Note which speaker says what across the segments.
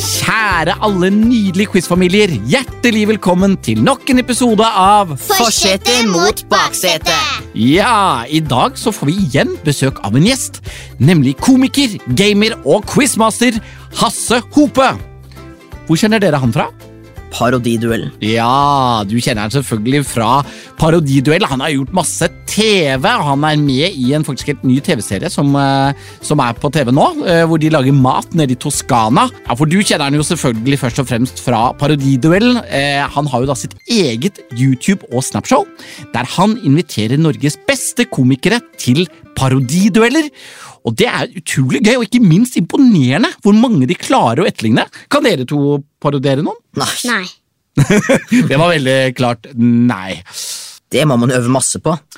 Speaker 1: kjære alle nydelige quizfamilier. Hjertelig velkommen til nok en episode av
Speaker 2: Forsetet mot baksetet.
Speaker 1: Ja, i dag så får vi igjen besøk av en gjest. Nemlig komiker, gamer og quizmaster Hasse Hope. Hvor kjenner dere han fra?
Speaker 2: Parodiduellen.
Speaker 1: Ja, du kjenner han selvfølgelig fra Parodiduell. Han har gjort masse TV, og han er med i en faktisk helt ny TV-serie som, eh, som er på TV nå, eh, hvor de lager mat nede i Toskana. Ja, For du kjenner han jo selvfølgelig først og fremst fra Parodiduell. Eh, Han har jo da sitt eget YouTube- og Snapshow, der han inviterer Norges beste komikere til parodidueller. Og det er utrolig gøy, og ikke minst imponerende hvor mange de klarer å etterligne. Kan dere to parodiere noen?
Speaker 2: Nei,
Speaker 3: Nei.
Speaker 1: Det var veldig klart nei.
Speaker 2: det må man øve masse på.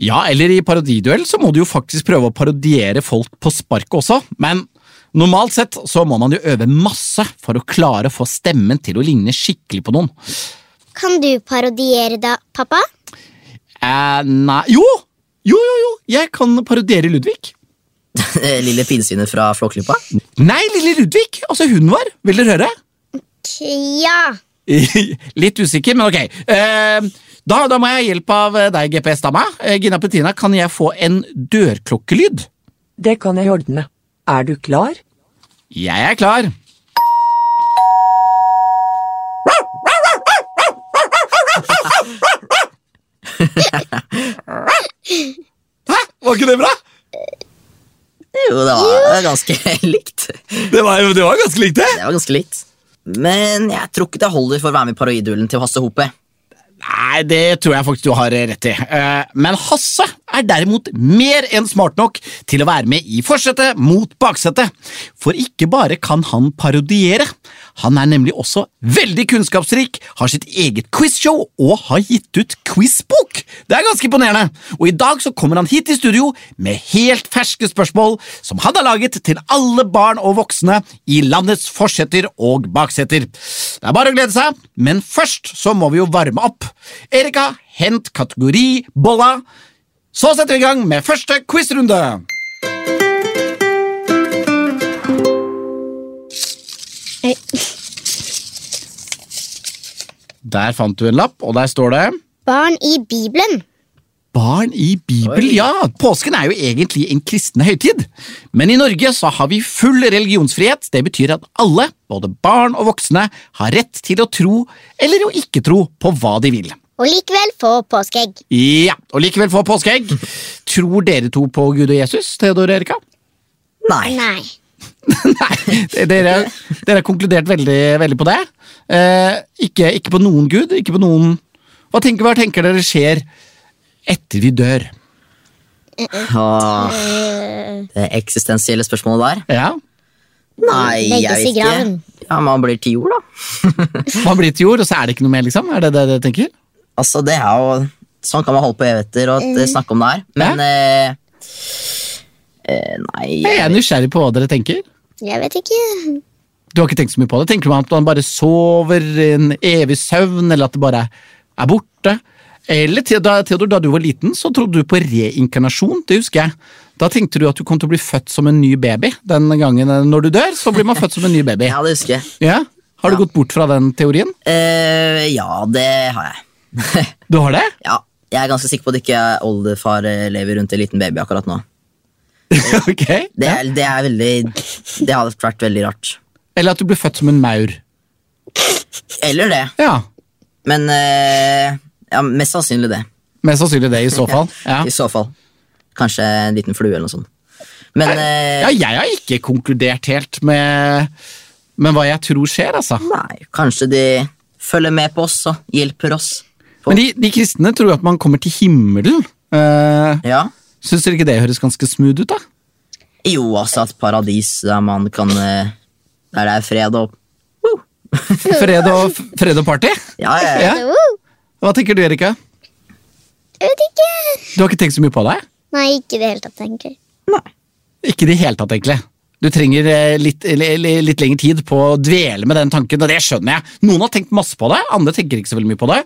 Speaker 1: Ja, eller i parodiduell så må du jo faktisk prøve å parodiere folk på sparket også, men normalt sett så må man jo øve masse for å klare å få stemmen til å ligne skikkelig på noen.
Speaker 3: Kan du parodiere da, pappa?
Speaker 1: Eh, nei Jo! Jo, jo, jo! Jeg kan parodiere Ludvig.
Speaker 2: Lille pinnsvinet fra Flåklypa.
Speaker 1: Nei, lille Ludvig! Altså, hun var. Vil dere høre?
Speaker 3: K ja.
Speaker 1: Litt usikker, men ok. Eh, da, da må jeg ha hjelp av deg, GPS-dama. Eh, Gina Petina, kan jeg få en dørklokkelyd?
Speaker 4: Det kan jeg ordne. Er du klar?
Speaker 1: Jeg er klar. Hæ? Var ikke det bra?
Speaker 2: Jo, det var ganske likt. Det
Speaker 1: Det var, det var ganske likt, det.
Speaker 2: var ganske likt. Men jeg tror ikke det holder for å være med i parodiduellen til Hasse Hope.
Speaker 1: Nei, det tror jeg faktisk du har rett i. Eh, Men Hasse er derimot mer enn smart nok til å være med i forsetet mot baksetet. For ikke bare kan han parodiere, han er nemlig også veldig kunnskapsrik, har sitt eget quizshow og har gitt ut quizbok. Det er ganske imponerende. Og i dag så kommer han hit i studio med helt ferske spørsmål som han har laget til alle barn og voksne i landets forsetter og bakseter. Det er bare å glede seg, men først så må vi jo varme opp. Erika, hent kategori bolla. Så setter vi i gang med første quizrunde.
Speaker 3: Oi.
Speaker 1: Der fant du en lapp, og der står det
Speaker 3: Barn i Bibelen.
Speaker 1: Barn i Bibel,
Speaker 2: Oi.
Speaker 1: ja! Påsken er jo egentlig en kristen høytid. Men i Norge så har vi full religionsfrihet. Det betyr at alle, både barn og voksne, har rett til å tro eller å ikke tro på hva de vil.
Speaker 3: Og likevel få påskeegg.
Speaker 1: Ja, og likevel få påskeegg. Tror dere to på Gud og Jesus, Theodor og Erika?
Speaker 2: Nei.
Speaker 3: Nei.
Speaker 1: Nei, dere, dere har konkludert veldig, veldig på det. Eh, ikke, ikke på noen gud, ikke på noen Hva tenker, hva tenker dere skjer etter vi dør?
Speaker 2: Åh,
Speaker 3: Eh.
Speaker 2: det eksistensielle spørsmålet der.
Speaker 1: Ja,
Speaker 2: Nei, jeg
Speaker 3: Legges i
Speaker 2: vet ikke.
Speaker 3: graven.
Speaker 2: Ja, Man blir ti år, da.
Speaker 1: Man blir til jord, og så er det ikke noe mer, liksom? Er det det dere tenker?
Speaker 2: Altså, det er jo... Sånn kan man holde på evigheter og
Speaker 3: Mm.
Speaker 2: eh, snakke om det her. Men eh, eh, Nei.
Speaker 1: Jeg er nysgjerrig på hva dere tenker.
Speaker 3: Jeg vet ikke.
Speaker 1: Du har ikke tenkt så mye på det? Tenker man at man bare sover i en evig søvn, eller at det bare er borte? Eller Theo- da, Theodor, da du var liten, så trodde du på reinkarnasjon, det husker jeg. Da tenkte du at du kom til å bli født som en ny baby. Den gangen eh, når du dør, så blir man født som en ny baby.
Speaker 2: Ja, det husker jeg.
Speaker 1: Ja? Har du gått bort fra den teorien?
Speaker 2: Eh, ja, det har jeg.
Speaker 1: Du har det?
Speaker 2: ja, Jeg er ganske sikker på at ikke oldefar eh, lever rundt en liten baby akkurat nå.
Speaker 1: ok.
Speaker 2: Det
Speaker 1: Ja.
Speaker 2: er, det er veldig Det hadde vært veldig rart.
Speaker 1: Eller at du ble født som en maur.
Speaker 2: Eller det,
Speaker 1: Ja,
Speaker 2: men eh, ja, mest sannsynlig det.
Speaker 1: mest sannsynlig det i så fall. Ja.
Speaker 2: I så fall. Kanskje en liten flue eller noe sånt. Men eh,
Speaker 1: Ja, jeg har ikke konkludert helt med, med hva jeg tror skjer, altså.
Speaker 2: nei, kanskje de følger med på oss og hjelper oss. På.
Speaker 1: Men de, de kristne tror jo at man kommer til himmelen. Uh,
Speaker 2: Ja.
Speaker 1: Syns dere ikke det høres ganske smooth ut, da?
Speaker 2: Jo, altså, et paradis der man kan eh, Der det er fred og Woo!
Speaker 1: Fred og, fred og party?
Speaker 2: Ja, ja, ja.
Speaker 1: Ja.
Speaker 3: Oh,
Speaker 1: Hva tenker du, Erika?
Speaker 3: jeg vet ikke.
Speaker 1: Du har ikke tenkt så mye på det?
Speaker 3: Nei, ikke i det hele tatt, egentlig.
Speaker 1: Ikke i det hele tatt, egentlig. Du trenger eh, litt, eller- eller litt lengre tid på å dvele med den tanken, og det skjønner jeg. Noen har tenkt masse på det, andre tenker ikke så veldig mye på det.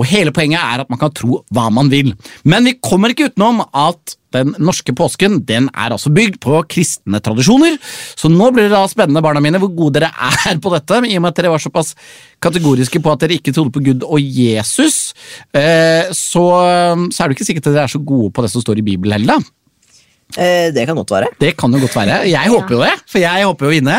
Speaker 1: Og hele poenget er at man kan tro hva man vil. Men vi kommer ikke utenom at den norske påsken den er altså bygd på kristne tradisjoner. Så nå blir det da spennende, barna mine, hvor gode dere er på dette. I og med at dere var såpass kategoriske på at dere ikke trodde på Gud og Jesus, eh, så, så er det ikke sikkert at dere er så gode på det som står i Bibelen heller. da.
Speaker 2: Eh, det kan godt være.
Speaker 1: Det kan jo godt være. Jeg håper jo det, for jeg håper jo å vinne.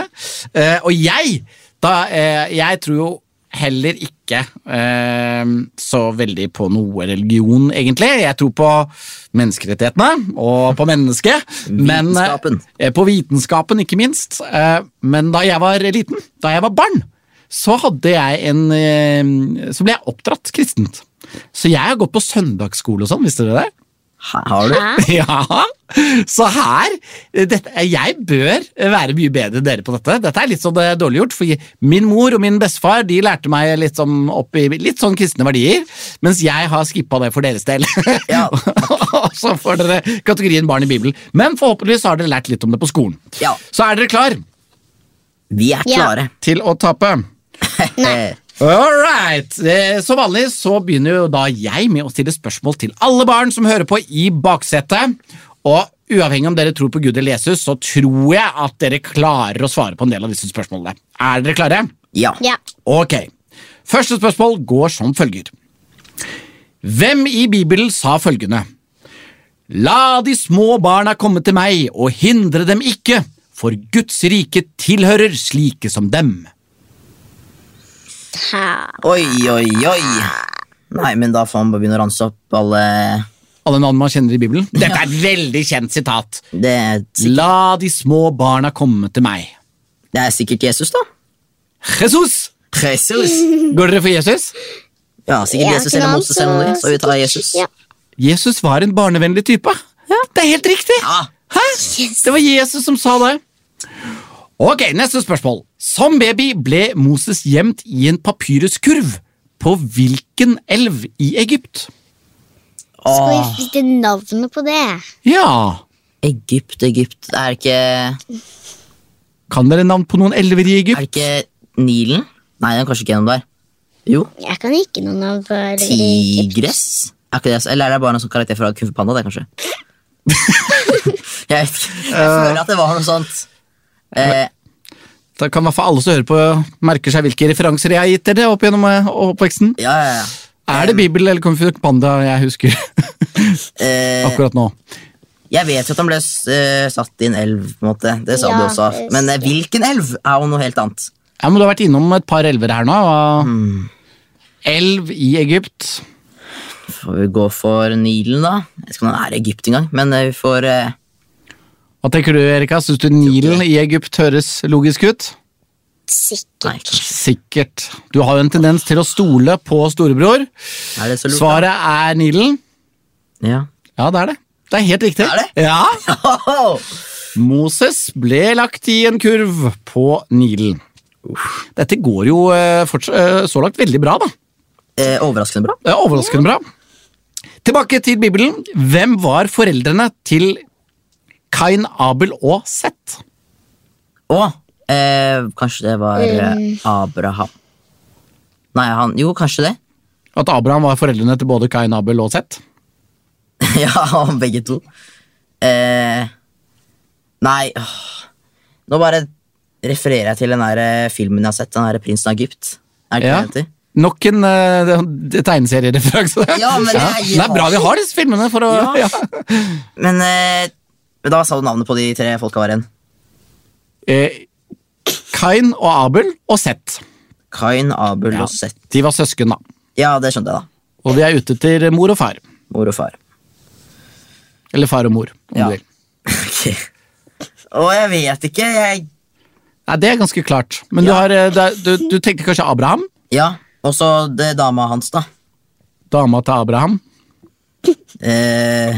Speaker 1: Eh, og jeg, da, eh, jeg tror jo heller ikke eh, så veldig på noe religion, egentlig. Jeg tror på menneskerettighetene og på mennesket. men, eh,
Speaker 2: Vitenskapen.
Speaker 1: eh, på vitenskapen, ikke minst. Eh, men da jeg var liten, da jeg var barn, så hadde jeg en eh, Så ble jeg oppdratt kristent. Så jeg har gått på søndagsskole og sånn, visste dere det?
Speaker 2: Ha- Har du?
Speaker 3: Hæ?
Speaker 1: Ja, så her dette, Jeg bør være mye bedre enn dere på dette. Dette er litt sånn eh, dårlig gjort, for min mor og min bestefar de lærte meg litt sånn, opp i litt sånn kristne verdier, mens jeg har skippa det for deres del.
Speaker 2: Ja.
Speaker 1: og så får dere kategorien barn i Bibelen. Men forhåpentligvis har dere lært litt om det på skolen.
Speaker 2: Ja.
Speaker 1: Så er dere klar
Speaker 2: Vi er
Speaker 3: Ja.
Speaker 2: klare.
Speaker 1: til å tape?
Speaker 2: Eh,
Speaker 1: All right. Eh, Som vanlig så begynner jo da jeg med å stille spørsmål til alle barn som hører på i baksetet. Og uavhengig om dere tror på Gud eller Jesus, så tror jeg at dere klarer å svare på en del av disse spørsmålene. Er dere klare?
Speaker 2: ja.
Speaker 3: Ja.
Speaker 1: Ok. Første spørsmål går som følger. Hvem i Bibelen sa følgende? La de små barna komme til meg, og hindre dem ikke, for Guds rike tilhører slike som dem.
Speaker 3: Ha.
Speaker 2: Oi, oi, oi. Nei, men da får man bare begynne å ranse opp alle
Speaker 1: alle navn man kjenner i Bibelen. Dette er et veldig kjent sitat.
Speaker 2: Det er, sikk-
Speaker 1: La de små barna komme til meg.
Speaker 2: det er sikkert Jesus, da.
Speaker 1: Jesus!
Speaker 2: Jesus!
Speaker 1: Går dere for Jesus?
Speaker 2: Ja, sikkert
Speaker 3: Ja,
Speaker 2: Jesus
Speaker 3: ikke
Speaker 2: eller
Speaker 3: sant?
Speaker 2: Moses eller noe, så vi tar Jesus.
Speaker 3: Ja.
Speaker 1: Jesus var en barnevennlig type. Det er helt riktig!
Speaker 2: Ja.
Speaker 1: Hæ? Det var Jesus som sa det. Ok, Neste spørsmål. Som baby ble Moses gjemt i en papyruskurv. På hvilken elv i Egypt?
Speaker 3: Skal vi
Speaker 2: Åh,
Speaker 3: vite navnet på det?
Speaker 1: Ja
Speaker 2: Egypt, Egypt Det er ikke, er
Speaker 1: Kan dere navn på noen elver i Egypt?
Speaker 2: det ikke Nilen? Nei, den er kanskje ikke gjennom der. Jo,
Speaker 3: Jeg kan ikke noe navn på det.
Speaker 2: Tigres? Er ikke det, eller er det bare noen sånn karakter fra Kung Fu Panda, det, kanskje? jeg, vet ikke. jeg føler at det var noe sånt. Eh,
Speaker 1: Da kan i hvert fall alle som hører på merker seg hvilke referanser jeg har gitt dere opp gjennom eh, oppveksten.
Speaker 2: ja, ja, ja.
Speaker 1: Er det Bibel eller Kung Fu Panda jeg husker
Speaker 2: Eh,
Speaker 1: akkurat nå?
Speaker 2: jeg vet jo at han ble s- eh, satt i en elv, på en måte. Det sa
Speaker 3: Ja,
Speaker 2: du også.
Speaker 3: det
Speaker 2: Men eh, hvilken elv er jo noe helt annet.
Speaker 1: Ja, men Du har vært innom et par elver her nå. og-
Speaker 2: Mm.
Speaker 1: Elv i Egypt.
Speaker 2: Får vi gå for Nilen, da? Jeg vet ikke om den er i Egypt engang, men eh, vi får eh,
Speaker 1: Hva tenker du, Erika? Syns du Nilen i Egypt høres logisk ut?
Speaker 2: Nei,
Speaker 3: Sikkert.
Speaker 2: kanskje.
Speaker 1: Sikkert. Du har jo en tendens til å stole på storebror.
Speaker 2: Er det så lurt? da?
Speaker 1: Svaret er Nilen.
Speaker 2: Ja.
Speaker 1: Ja, det er det. Det er helt riktig.
Speaker 2: Er det?
Speaker 1: Ja.
Speaker 2: Ho-ho!
Speaker 1: Moses ble lagt i en kurv på Nilen. Dette går jo eh, forts- eh, så langt veldig bra, da.
Speaker 2: Eh, overraskende bra.
Speaker 1: Det er overraskende bra. Tilbake til Bibelen. Hvem var foreldrene til Kain, Abel og Seth?
Speaker 2: Og eh, kanskje det var eh,
Speaker 3: Mm.
Speaker 2: Abraham. Nei, han Jo, kanskje det.
Speaker 1: At Abraham var foreldrene til både Kain, Abel og Seth?
Speaker 2: ja, begge to. Eh, nei åh. Nå bare refererer jeg til den der eh, filmen jeg har sett, den der Prinsen av Egypt. Er det ikke
Speaker 1: Ja.
Speaker 2: det den heter?
Speaker 1: Nok en uh, tegneseriereferanse.
Speaker 2: Ja, men det er-
Speaker 1: det er bra vi har disse filmene. for å...
Speaker 2: Ja.
Speaker 1: Ja.
Speaker 2: Men eh, men da sa du navnet på de tre folka var igjen.
Speaker 1: Eh, Kain og Abel og Seth.
Speaker 2: Kain, Abel
Speaker 1: Ja.
Speaker 2: og Seth.
Speaker 1: De var søsken, da.
Speaker 2: Ja, det skjønte jeg, da.
Speaker 1: Og de er ute etter mor og far.
Speaker 2: Mor og far.
Speaker 1: Eller far og mor. om
Speaker 2: Ja.
Speaker 1: du vil.
Speaker 2: Ok. Å, jeg vet ikke. Jeg
Speaker 1: Nei, Det er ganske klart. Men du, har, eh, det er- du, du tenker kanskje Abraham?
Speaker 2: Ja, og så det dama hans, da.
Speaker 1: Dama til Abraham?
Speaker 2: Eh,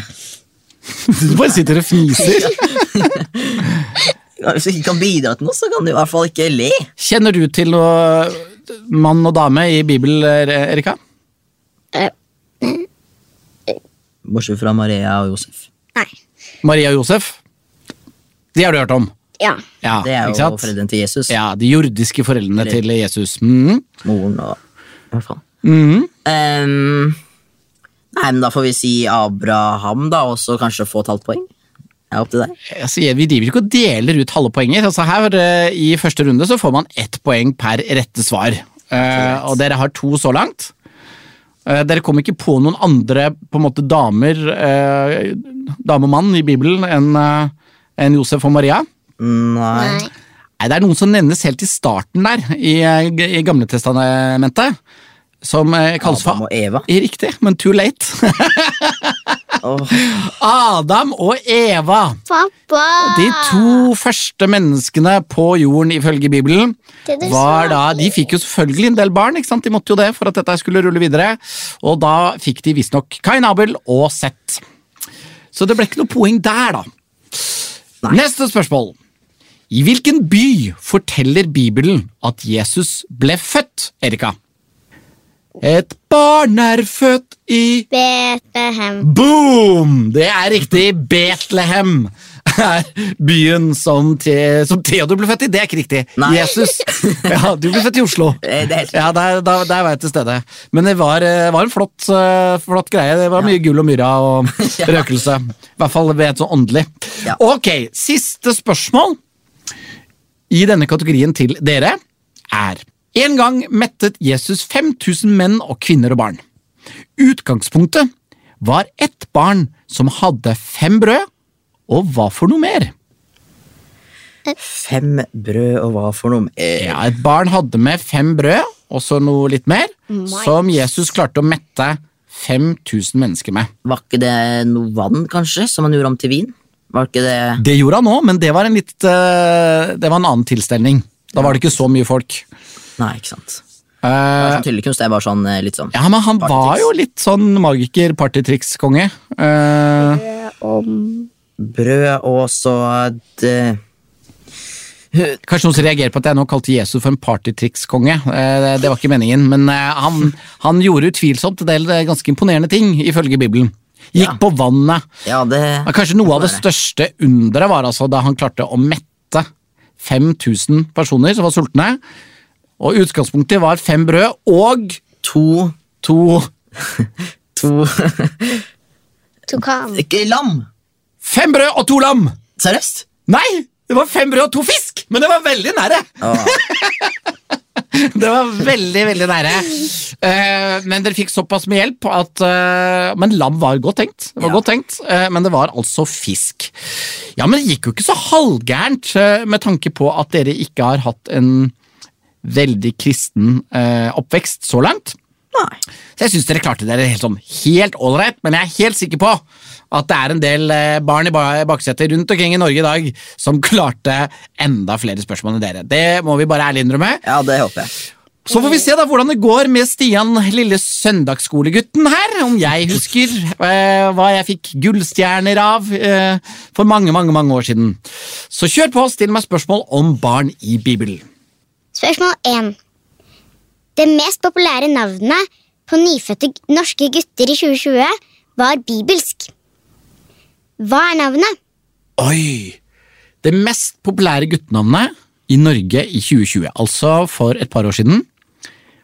Speaker 1: Du bare sitter og fniser.
Speaker 2: hvis du ikke kan bidra til noe, så kan du i hvert fall ikke le.
Speaker 1: Kjenner du til noe mann og dame i Bibelen, Er- Erika?
Speaker 3: Eh,
Speaker 2: Bortsett fra Maria og Josef.
Speaker 3: nei.
Speaker 1: Maria og Josef? De har du hørt om?
Speaker 3: Ja.
Speaker 1: Ja,
Speaker 2: Det er
Speaker 1: ikke
Speaker 2: jo
Speaker 1: sant?
Speaker 2: foreldrene til Jesus.
Speaker 1: Ja, De jordiske foreldrene til Jesus. Mhm.
Speaker 2: Moren og Hva faen?
Speaker 1: Mhm.
Speaker 2: Ehm, nei, men da får vi si Abraham, da, og så kanskje få et halvt poeng. Det er opp til deg.
Speaker 1: Altså, jeg- vi driver ikke og deler ut halve poenger. Altså, her eh, I første runde så får man ett poeng per rette svar. Eh, og dere har to så langt. Eh, dere kom ikke på noen andre på en måte damer eh, dame og mann i Bibelen enn eh, enn Josef og Maria.
Speaker 2: Nei.
Speaker 3: Nei.
Speaker 1: Nei, Det er noen som nevnes helt i starten der, i, eh, i Gamletestamentet. Som eh, kalles
Speaker 2: Adam
Speaker 1: for
Speaker 2: og Eva.
Speaker 1: Riktig, men too late.
Speaker 2: Åh,
Speaker 1: Adam og Eva.
Speaker 3: Pappa!
Speaker 1: De to første menneskene på jorden ifølge Bibelen
Speaker 3: Det er det
Speaker 1: var da
Speaker 3: smakelige.
Speaker 1: De fikk jo selvfølgelig en del barn, ikke sant? de måtte jo det for at dette skulle rulle videre. Og da fikk de visstnok Kain Abel og Seth. Så det ble ikke noe poeng der, da. Neste spørsmål. I hvilken by forteller Bibelen at Jesus ble født, Erika? Et barn er født i
Speaker 3: Betlehem.
Speaker 1: Boom! Det er riktig. Betlehem er byen som, te, som Theodor ble født i. Det er ikke riktig.
Speaker 2: Nei.
Speaker 1: Jesus. Ja, du ble født i Oslo.
Speaker 2: Eh, det er helt-
Speaker 1: Ja, der, der, der var jeg til stede. Men det var, eh, var en flott, eh, flott greie. Det var mye gull og myrra og røkelse. I hvert fall ved et sånn åndelig.
Speaker 2: Ja.
Speaker 1: Ok, siste spørsmål i denne kategorien til dere er En gang mettet Jesus 5000 menn og kvinner og barn. Utgangspunktet var ett barn som hadde fem brød, og hva for noe mer?
Speaker 2: fem brød og hva for noe? Eh,
Speaker 1: Ja, et barn hadde med fem brød, og så noe litt mer, som Jesus klarte å mette 5000 mennesker med.
Speaker 2: Var ikke det noe vann, kanskje, som han gjorde om til vin? Var ikke det
Speaker 1: Det gjorde han òg, men det var en litt eh, Det var en annen tilstelning. Da var det ikke så mye folk.
Speaker 2: Nei, ikke sant. Det
Speaker 1: Eh,
Speaker 2: er sånn tryllekunst, det er bare sånn eh, litt sånn.
Speaker 1: ja, men han var
Speaker 2: Partytriks.
Speaker 1: jo litt sånn magiker-partytriks-konge. Eh,
Speaker 2: Brød og så det-
Speaker 1: kanskje noen som reagerer på at jeg nå kalte Jesus for en partytriks-konge. Eh, det var ikke meningen, men eh, han, han gjorde utvilsomt en del eh, ganske imponerende ting, ifølge Bibelen. Gikk
Speaker 2: Ja.
Speaker 1: på vannet.
Speaker 2: Ja, det
Speaker 1: Ja, Kanskje noe av det
Speaker 2: være.
Speaker 1: største underet var altså da han klarte å mette 5000 personer som var sultne. Og utgangspunktet var fem brød og
Speaker 2: To
Speaker 1: to
Speaker 2: To
Speaker 3: Tukan.
Speaker 2: Ikke Lam!
Speaker 1: Fem brød og to lam!
Speaker 2: Seriøst?
Speaker 1: Nei! Det var fem brød og to fisk! Men det var veldig nære!
Speaker 2: Åh,
Speaker 1: Det var veldig, veldig nære. Eh, men dere fikk såpass med hjelp at eh, Men lam var godt tenkt. Det var
Speaker 2: Ja.
Speaker 1: godt tenkt eh, men det var altså fisk. Ja, men det gikk jo ikke så halvgærent eh, med tanke på at dere ikke har hatt en veldig kristen eh, oppvekst så langt.
Speaker 2: Nei.
Speaker 1: Så jeg syns dere klarte dere helt sånn helt ålreit, men jeg er helt sikker på at det er en del eh, barn i ba- baksetet rundt omkring i Norge i dag som klarte enda flere spørsmål enn dere. Det må vi bare ærlig innrømme.
Speaker 2: Ja, det håper jeg.
Speaker 1: Så får vi se da hvordan det går med Stian, lille søndagsskolegutten her. Om jeg husker eh, hva jeg fikk gullstjerner av eh, for mange, mange mange år siden. Så kjør på, still meg spørsmål om barn i Bibelen.
Speaker 3: Spørsmål 1. Det mest populære navnet på nyfødte g- norske gutter i 2020 var bibelsk. Hva er navnet?
Speaker 1: Oi! Det mest populære guttenavnet i Norge i 2020, altså for et par år siden.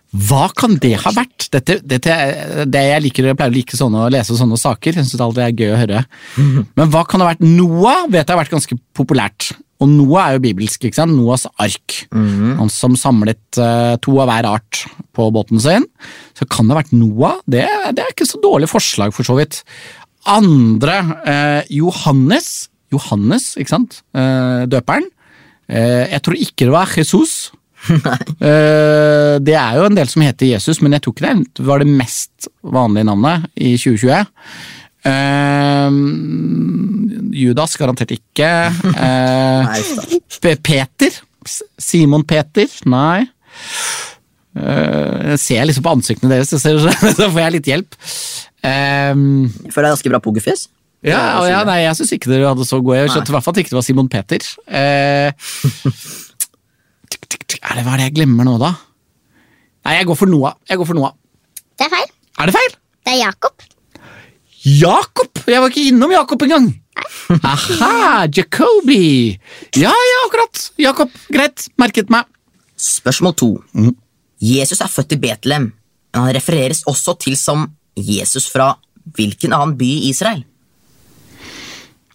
Speaker 1: Hva kan det ha vært? Dette, dette, er- det jeg liker, jeg pleier å like sånne, å lese sånne saker. Jeg synes alltid det er gøy å høre. Men hva kan det ha vært? Noah vet jeg har vært ganske populært. Og Noah er jo bibelsk. ikke sant? Noahs ark. Han som samlet eh, to av hver art på båten sin. Så kan det ha vært Noah. Det, det er ikke så dårlig forslag, for så vidt. Andre eh, Johannes. Johannes, ikke sant? Eh, døperen. Eh, jeg tror ikke det var Jesus. Eh, det er jo en del som heter Jesus, men jeg tror ikke det var det mest vanlige navnet i 2020. Eh, Judas garantert ikke. Eh,
Speaker 2: Nei, uff da.
Speaker 1: P- Peter? S- Simon Peter? Nei. Eh, jeg ser liksom på ansiktene deres, så, ser, så får jeg litt hjelp. Eh,
Speaker 2: Jeg føler det er ganske bra pokerfjes.
Speaker 1: ja, og ja, nei, jeg syns ikke dere hadde så gode. Jeg
Speaker 2: Nei.
Speaker 1: skjønte i hvert fall at det ikke var Simon Peter. Eh, tikk, tikk, tikk. er det hva er det jeg glemmer nå, da? Nei, jeg går for Noah. Jeg går for Noah.
Speaker 3: Det er feil.
Speaker 1: Er det feil?
Speaker 3: Det er Jakob.
Speaker 1: Jakob! Jeg var ikke innom Jakob engang! Aha, Jacobi! Ja, ja, akkurat. Jakob, greit, merket meg.
Speaker 2: Spørsmål to. Jesus er født i Betlehem, men han refereres også til som Jesus fra hvilken annen by i Israel?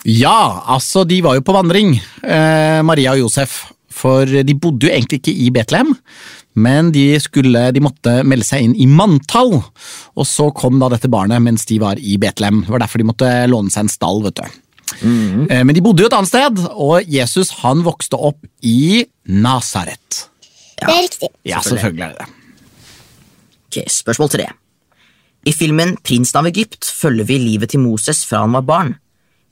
Speaker 1: Ja, altså, de var jo på vandring, eh, Maria og Josef. For de bodde jo egentlig ikke i Betlehem, men de, skulle, de måtte melde seg inn i manntall. Og så kom da dette barnet mens de var i Betlehem. Det var derfor de måtte låne seg en stall, vet du. Eh, Men de bodde jo et annet sted, og Jesus han vokste opp i Nasaret.
Speaker 3: Det er riktig.
Speaker 1: Ja, selvfølgelig er det det.
Speaker 2: Ok, Spørsmål tre. I filmen Prinsen av Egypt følger vi livet til Moses fra han var barn.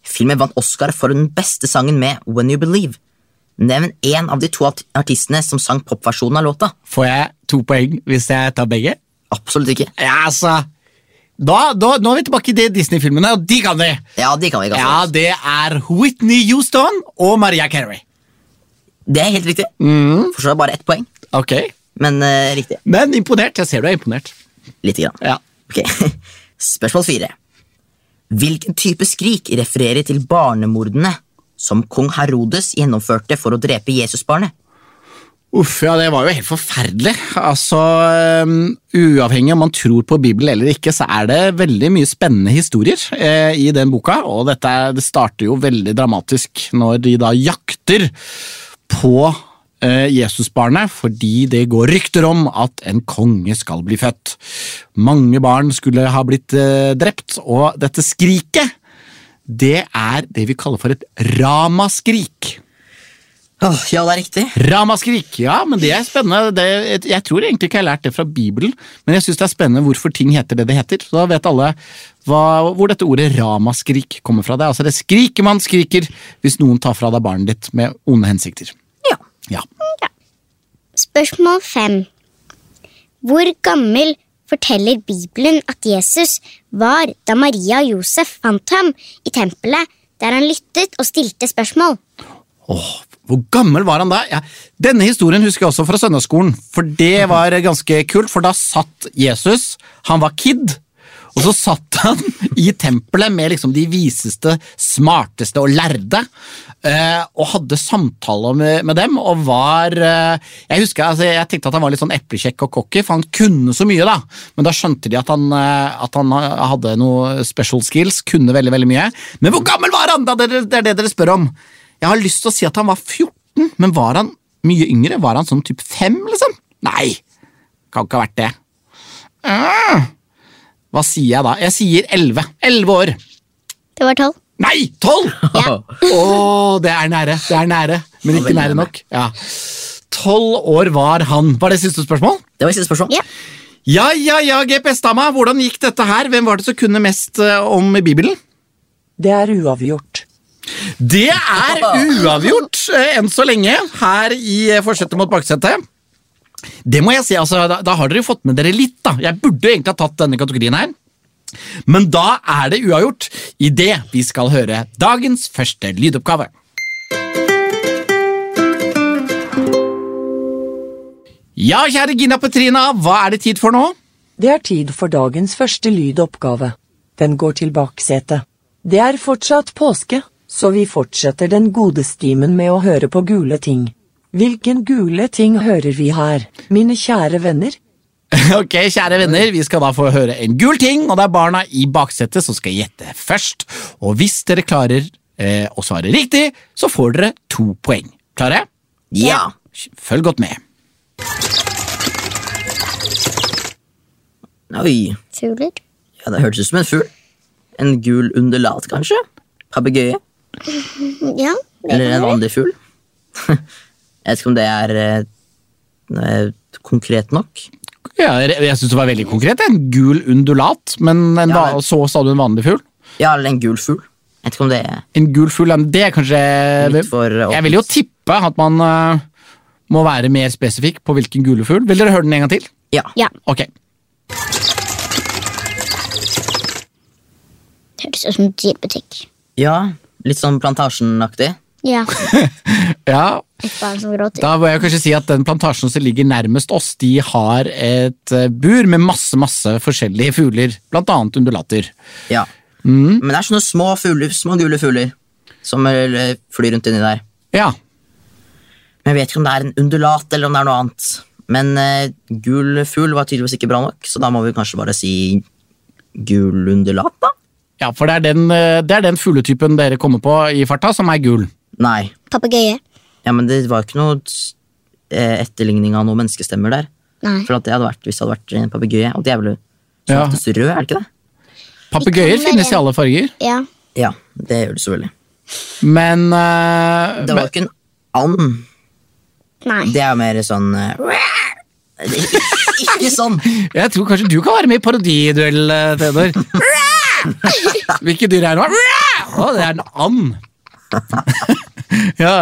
Speaker 2: Filmen vant Oscar for den beste sangen med When You Believe. Nevn én av de to art- artistene som sang popversjonen av låta.
Speaker 1: Får jeg to poeng hvis jeg tar begge?
Speaker 2: Absolutt ikke.
Speaker 1: Ja, altså da, da, Nå er vi tilbake i de Disney-filmene, og de kan vi!
Speaker 2: Ja, De kan vi ikke.
Speaker 1: Ja,
Speaker 2: altså.
Speaker 1: det er Whitney Houston og Maria Carey.
Speaker 2: Det er helt riktig. Forstår jeg bare ett poeng,
Speaker 1: Ok.
Speaker 2: men eh, riktig.
Speaker 1: Men imponert. Jeg ser du er imponert.
Speaker 2: Lite grann.
Speaker 1: Ja.
Speaker 2: Ok, Spørsmål fire. Hvilken type skrik refererer til barnemordene som kong Herodes gjennomførte for å drepe Jesusbarnet?
Speaker 1: Uff, ja, det var jo helt forferdelig. Altså, øhm, Uavhengig om man tror på Bibelen eller ikke, så er det veldig mye spennende historier eh, i den boka, og dette er- det starter jo veldig dramatisk når de da jakter på eh, Jesusbarnet, fordi det går rykter om at en konge skal bli født. Mange barn skulle ha blitt eh, drept, og dette skriket, det er det vi kaller for et ramaskrik.
Speaker 2: Åh, ja, det er riktig.
Speaker 1: Ramaskrik! Ja, men det er spennende. Det, jeg tror egentlig ikke jeg har lært det fra Bibelen, men jeg syns det er spennende hvorfor ting heter det det heter. Så da vet alle hva, hvor dette ordet ramaskrik kommer fra. Det er altså det skriket man skriker hvis noen tar fra deg barnet ditt med onde hensikter.
Speaker 2: Ja.
Speaker 1: Ja.
Speaker 3: Spørsmål fem. Hvor gammel forteller Bibelen at Jesus var da Maria og Josef fant ham i tempelet, der han lyttet og stilte spørsmål?
Speaker 1: Åh, hvor gammel var han da? Ja, denne historien husker jeg også fra søndagsskolen, for det var ganske kult, for da satt Jesus, han var kid, og så satt han i tempelet med liksom de viseste, smarteste og lærde, eh, og hadde samtaler med, med dem, og var eh, Jeg husker, altså, jeg tenkte at han var litt sånn eplekjekk og cocky, for han kunne så mye, da, men da skjønte de at han, eh, at han hadde noe special skills, kunne veldig, veldig mye. Men hvor gammel var han? da? Det det er det dere spør om. Jeg har lyst til å si at han var 14, men var han mye yngre? Var han sånn typ 5, liksom? Nei, kan ikke ha vært det. Ah. Hva sier jeg da? Jeg sier 11. 11 år.
Speaker 3: Det var tolv.
Speaker 1: Nei, 12! Å,
Speaker 3: Ja.
Speaker 1: det er nære, det er nære, men ikke nære nok. Ja. 12 år var han. Var det siste spørsmål?
Speaker 2: Det var siste spørsmål.
Speaker 3: Ja.
Speaker 1: Ja, ja, ja, GPS-dama, hvordan gikk dette her? Hvem var det som kunne mest eh, om Bibelen?
Speaker 4: Det er uavgjort.
Speaker 1: Det er uavgjort eh, enn så lenge her i eh, Forsetet mot baksetet. Det må jeg si, altså, da, da har dere jo fått med dere litt, da. Jeg burde jo egentlig ha tatt denne kategorien her. Men da er det uavgjort idet vi skal høre dagens første lydoppgave. Ja, kjære Gina Petrina, hva er det tid for nå?
Speaker 4: Det er tid for dagens første lydoppgave. Den går til baksetet. Det er fortsatt påske, så vi fortsetter den gode stimen med å høre på gule ting. Hvilken gule ting hører vi her, mine kjære venner?
Speaker 1: Ok, kjære venner, vi skal da få høre en gul ting, og det er barna i baksetet som skal gjette først. Og hvis dere klarer eh, å svare riktig, så får dere to poeng. Klare?
Speaker 2: Ja.
Speaker 1: Følg godt med.
Speaker 2: Oi.
Speaker 3: Fugler.
Speaker 2: Ja, det hørtes ut som en fugl. En gul undulat, kanskje? Papegøye?
Speaker 3: Ja.
Speaker 2: Eller en vanlig fugl? Jeg vet ikke om det er eh, eh, konkret nok.
Speaker 1: Ja, jeg jeg syns det var veldig konkret. En gul undulat, men en
Speaker 2: Ja,
Speaker 1: va- så sa du en vanlig fugl.
Speaker 2: Ja, eller en gul fugl. Jeg vet ikke om det er
Speaker 1: En gul fugl, ja, det er kanskje
Speaker 2: Litt for åpent.
Speaker 1: Jeg vil jo tippe at man eh, må være mer spesifikk på hvilken gule fugl. Vil dere høre den en gang til?
Speaker 2: Ja.
Speaker 3: Ja.
Speaker 1: Ok.
Speaker 3: Det høres ut som dyrebutikk.
Speaker 2: ja. Litt sånn plantasjenaktig.
Speaker 3: Ja.
Speaker 1: Ja,
Speaker 3: Et barn som gråter.
Speaker 1: Da må jeg kanskje si at den plantasjen som ligger nærmest oss, de har et eh, bur med masse, masse forskjellige fugler, blant annet undulater.
Speaker 2: Ja. Men det er sånne små fugler, små gule fugler som eh, flyr rundt inni der.
Speaker 1: Ja,
Speaker 2: Men Jeg vet ikke om det er en undulat eller om det er noe annet. Men eh, gul fugl var tydeligvis ikke bra nok, så da må vi kanskje bare si gul undulat, da?
Speaker 1: Ja, for det er den, eh, det er den fugletypen dere kommer på i farta, som er gul.
Speaker 2: Nei.
Speaker 3: Papegøye.
Speaker 2: Ja, men det var jo ikke noe eh, etterligning av noen menneskestemmer der.
Speaker 3: Nei.
Speaker 2: For at det hadde vært, hvis det hadde vært en papegøye, og det er vel som
Speaker 1: Ja.
Speaker 2: oftest rød, er det ikke det?
Speaker 1: Papegøyer
Speaker 3: Vi kan
Speaker 1: finnes i
Speaker 3: være-
Speaker 1: alle farger,
Speaker 3: Ja.
Speaker 2: Ja, det gjør det selvfølgelig.
Speaker 1: men, eh,
Speaker 2: Det var jo ikke en and.
Speaker 3: Nei.
Speaker 2: Det er mer sånn eh, Ikke sånn!
Speaker 1: men jeg tror kanskje du kan være med i parodiduell, eh, Theodor. Hvilke dyr er det nå? Å, det er en and. ja,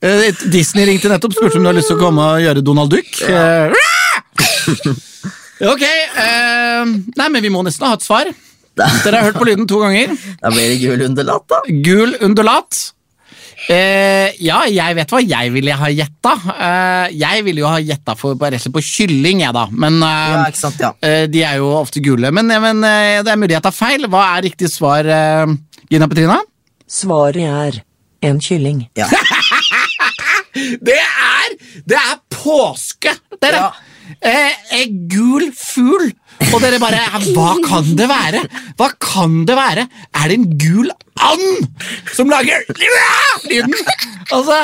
Speaker 1: eh, Disney ringte nettopp spurte om du har lyst til å komme og gjøre Donald Duck. Eh, ok, eh, nei, men vi må nesten ha et svar. Dere har hørt på lyden to ganger.
Speaker 2: Da blir det gul undulat, da.
Speaker 1: Gul undulat. Eh, ja, jeg vet hva jeg ville ha gjetta. Eh, jeg ville jo ha gjetta for- på, rett og slett på kylling, jeg, da. Men eh,
Speaker 2: Ja, ikke sant, ja.
Speaker 1: eh, de er jo ofte gule. Men, eh, men eh, det er mulig jeg tar feil. Hva er riktig svar, eh, Gina Petrina?
Speaker 4: Svaret er en kylling.
Speaker 2: ja.
Speaker 1: Det er, det er påske, dere!
Speaker 2: Ja.
Speaker 1: Eh, en gul fugl. Og dere bare Hva kan det være? Hva kan det være? Er det en gul and som lager lyden? Altså,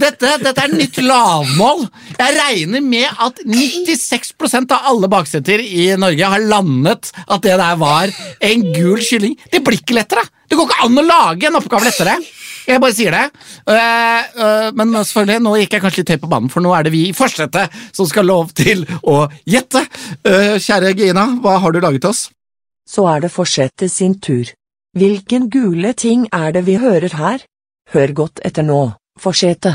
Speaker 1: dette, dette er nytt lavmål. Jeg regner med at 96 av alle bakseter i Norge har landet at det der var en gul kylling. Det blir ikke lettere. Det går ikke an å lage en oppgave lettere. Jeg bare sier det. Eh, eh, men selvfølgelig, nå gikk jeg kanskje litt høyt på banen, for nå er det vi i Fortsette som skal lov til å gjette. Eh, kjære Gina, hva har du laget til oss?
Speaker 4: Så er det fortsette sin tur. Hvilken gule ting er det vi hører her? Hør godt etter nå, forsete.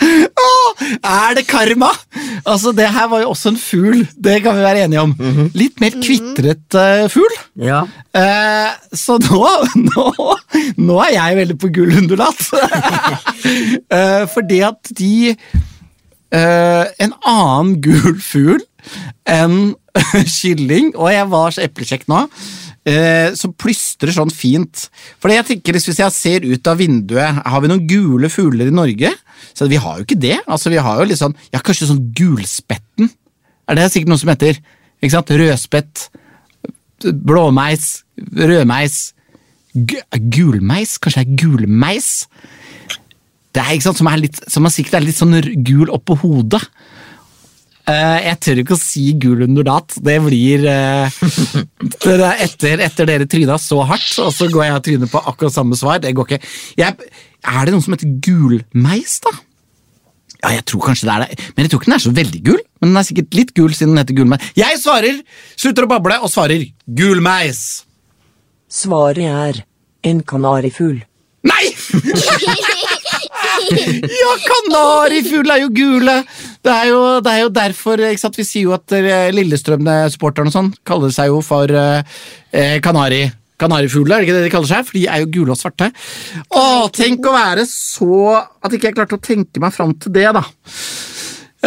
Speaker 1: Åh, er det karma? Altså, Det her var jo også en fugl, det kan vi være enige om. Litt mer kvitret eh, fugl.
Speaker 2: ja.
Speaker 1: Eh, så nå, nå, nå er jeg veldig på gull undulat. eh, fordi at de eh, En annen gul fugl enn kylling, og jeg var så eplekjekk nå, eh, som plystrer sånn fint. Fordi jeg tenker, Hvis jeg ser ut av vinduet, har vi noen gule fugler i Norge? Så Vi har jo ikke det. altså Vi har jo litt sånn, ja, kanskje sånn gulspetten? Er det sikkert noe som heter? Ikke sant? Rødspett blåmeis, rødmeis, gu- gulmeis, kanskje det er gulmeis? Det er ikke sant, som, er litt, som er sikkert er litt sånn r- gul oppå hodet. Eh, jeg tør ikke å si gul undulat. Det blir eh, det er etter, etter dere tryna så hardt, og så går jeg og tryner på akkurat samme svar. Det går ikke. Jeg, er det noen som heter gulmeis, da? Ja, jeg tror kanskje det er det. Men jeg tror ikke den er så veldig gul. Men den er sikkert litt gul siden den heter gulmeis. Jeg svarer! Slutter å bable og svarer gulmeis!
Speaker 4: Svaret er en kanarifugl.
Speaker 1: Nei! ja, kanarifugl er jo gule! Det er jo, det er jo derfor ikke sant? Vi sier jo at eh, Lillestrøm-supporterne og sånn kaller seg jo for eh, eh, kanari. Kanarifugler, er det ikke det de kaller seg? For de er jo gule og svarte. Å, tenk å være så At ikke jeg klarte å tenke meg fram til det, da.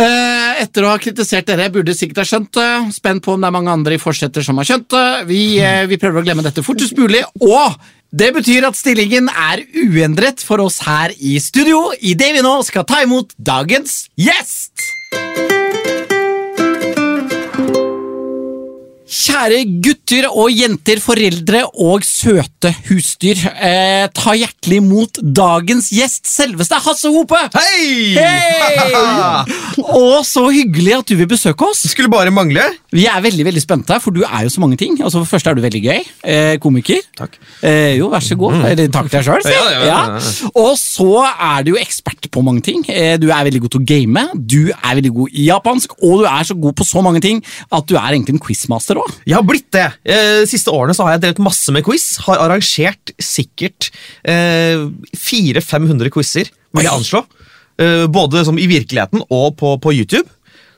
Speaker 1: Eh, Etter å ha kritisert dere, jeg burde sikkert ha skjønt det. Spent på om det er mange andre i forsetter som har skjønt det. Vi, eh, vi prøver å glemme dette fortest mulig, og det betyr at stillingen er uendret for oss her i studio idet vi nå skal ta imot dagens gjest! Kjære gutter og jenter, foreldre og søte husdyr. Eh, ta hjertelig imot dagens gjest, selveste Hasse Hope!
Speaker 5: Hei!
Speaker 1: Hei! Og så hyggelig at du vil besøke oss.
Speaker 5: Det skulle bare mangle.
Speaker 1: Vi er veldig veldig spente, for du er jo så mange ting. Altså, for det første er du veldig gøy. Eh, komiker.
Speaker 5: Takk. Mm.
Speaker 1: Eh, jo, vær så god. Eller takk til deg sjøl, si.
Speaker 5: Ja, ja, ja, ja.
Speaker 1: Og så er du jo ekspert på mange ting. Eh, du er veldig god til å game, du er veldig god i japansk, og du er så god på så mange ting at du er egentlig en quizmaster òg.
Speaker 5: Jeg har blitt det. Eh, De siste årene så har jeg drevet masse med quiz. Har arrangert sikkert eh, 400-500 quizer, vil jeg anslå. Eh, både som i virkeligheten og på, på YouTube.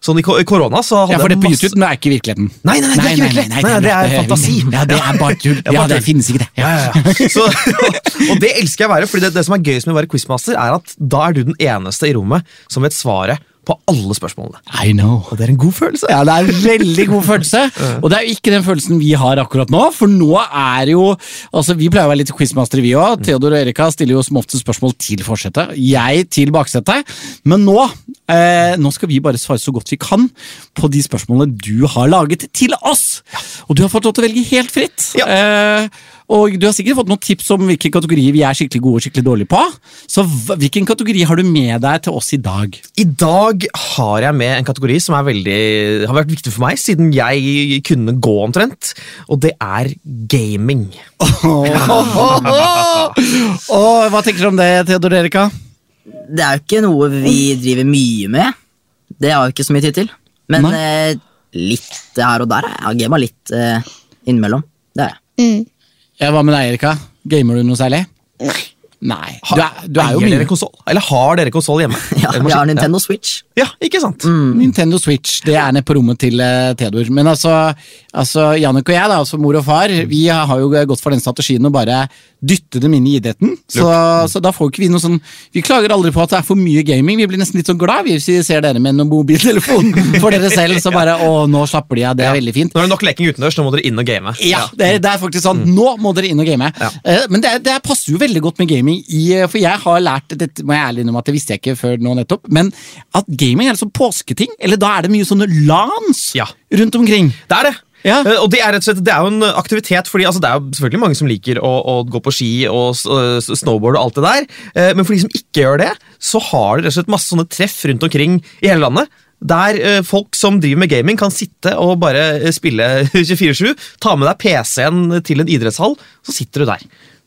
Speaker 5: Sånn i ko- i korona så hadde
Speaker 1: Ja, for det
Speaker 5: jeg
Speaker 1: på
Speaker 5: masse-
Speaker 1: YouTube nå er ikke virkeligheten.
Speaker 5: Nei, nei, nei, det er ikke virkelighet. Nei, det er fantasi.
Speaker 1: Ja, det er bare tull.
Speaker 5: er bare
Speaker 1: Ja, det
Speaker 5: tull.
Speaker 1: finnes ikke, det.
Speaker 5: Ja, ja, ja. Så, og det elsker jeg å være, fordi det, det som er gøyest med å være quizmaster, er at da er du den eneste i rommet som vet svaret på alle spørsmålene.
Speaker 1: I know.
Speaker 5: Og det er en god følelse.
Speaker 1: Ja, det er en veldig god følelse. Og det er jo ikke den følelsen vi har akkurat nå, for nå er jo Altså, vi pleier å være litt quizmastere, vi òg.
Speaker 5: Mm.
Speaker 1: Theodor og Erika stiller jo som oftest spørsmål til forsetet, jeg til baksetet. Men nå eh, Nå skal vi bare svare så godt vi kan på de spørsmålene du har laget til oss! Og du har fått lov til å velge helt fritt.
Speaker 5: Ja.
Speaker 1: Eh, og du har sikkert fått noen tips om hvilke kategorier vi er skikkelig gode og skikkelig dårlige på. Så hva- hvilken kategori har du med deg til oss i dag?
Speaker 5: I dag har jeg med en kategori som er veldig, har vært viktig for meg siden jeg kunne gå omtrent, og det er gaming.
Speaker 1: Og hva tenker du om det, Theodor Erika?
Speaker 2: Det er jo ikke noe vi driver mye med. Det har vi ikke så mye tid til. Men eh, litt her og der. Jeg har gama litt eh, innimellom. Det er jeg.
Speaker 1: Ja, hva med deg, Erika? Gamer du noe særlig? Nei. Du er, du er jo
Speaker 5: Eier
Speaker 1: mye
Speaker 5: dere konsoll? Eller har dere konsoll hjemme?
Speaker 2: Ja,
Speaker 5: Eller
Speaker 2: vi
Speaker 5: maskin?
Speaker 2: har Nintendo Switch.
Speaker 5: Ja, ikke sant?
Speaker 1: Mm. Nintendo Switch, det er nede på rommet til eh, Theodor. Men altså, altså Jannik og jeg, da, altså mor og far, vi har jo gått for den strategien å bare dytte dem inn i idretten. Så, så da får ikke vi noe sånn Vi klager aldri på at det er for mye gaming. Vi blir nesten litt sånn glad hvis vi ser dere med en mobiltelefon for dere selv. Så bare Å, nå slapper de av. Det er veldig fint.
Speaker 5: Nå er det nok leking utendørs, nå må dere inn og game.
Speaker 1: Ja, det er, det er faktisk sånn. Nå må dere inn og game. Eh, men det, er- det er- passer jo veldig godt med gaming, i, eh, for jeg har lært dette, må jeg ærlig innrømme at det visste jeg ikke før nå nettopp, men at gaming er en sånn påsketing, eller da er det mye sånne lans
Speaker 5: Ja.
Speaker 1: rundt omkring.
Speaker 5: Det er det.
Speaker 1: Ja.
Speaker 5: Eh, Og det er, rett og slett, det er jo en aktivitet, fordi altså, det er jo selvfølgelig mange som liker å, å gå på ski og s- øh, s- snowboard og alt det der, Eh, men for de som ikke gjør det, så har det rett og slett masse sånne treff rundt omkring i hele landet, der eh, folk som driver med gaming kan sitte og bare eh, spille 24-7, ta med deg PC-en til en idrettshall, så sitter du der.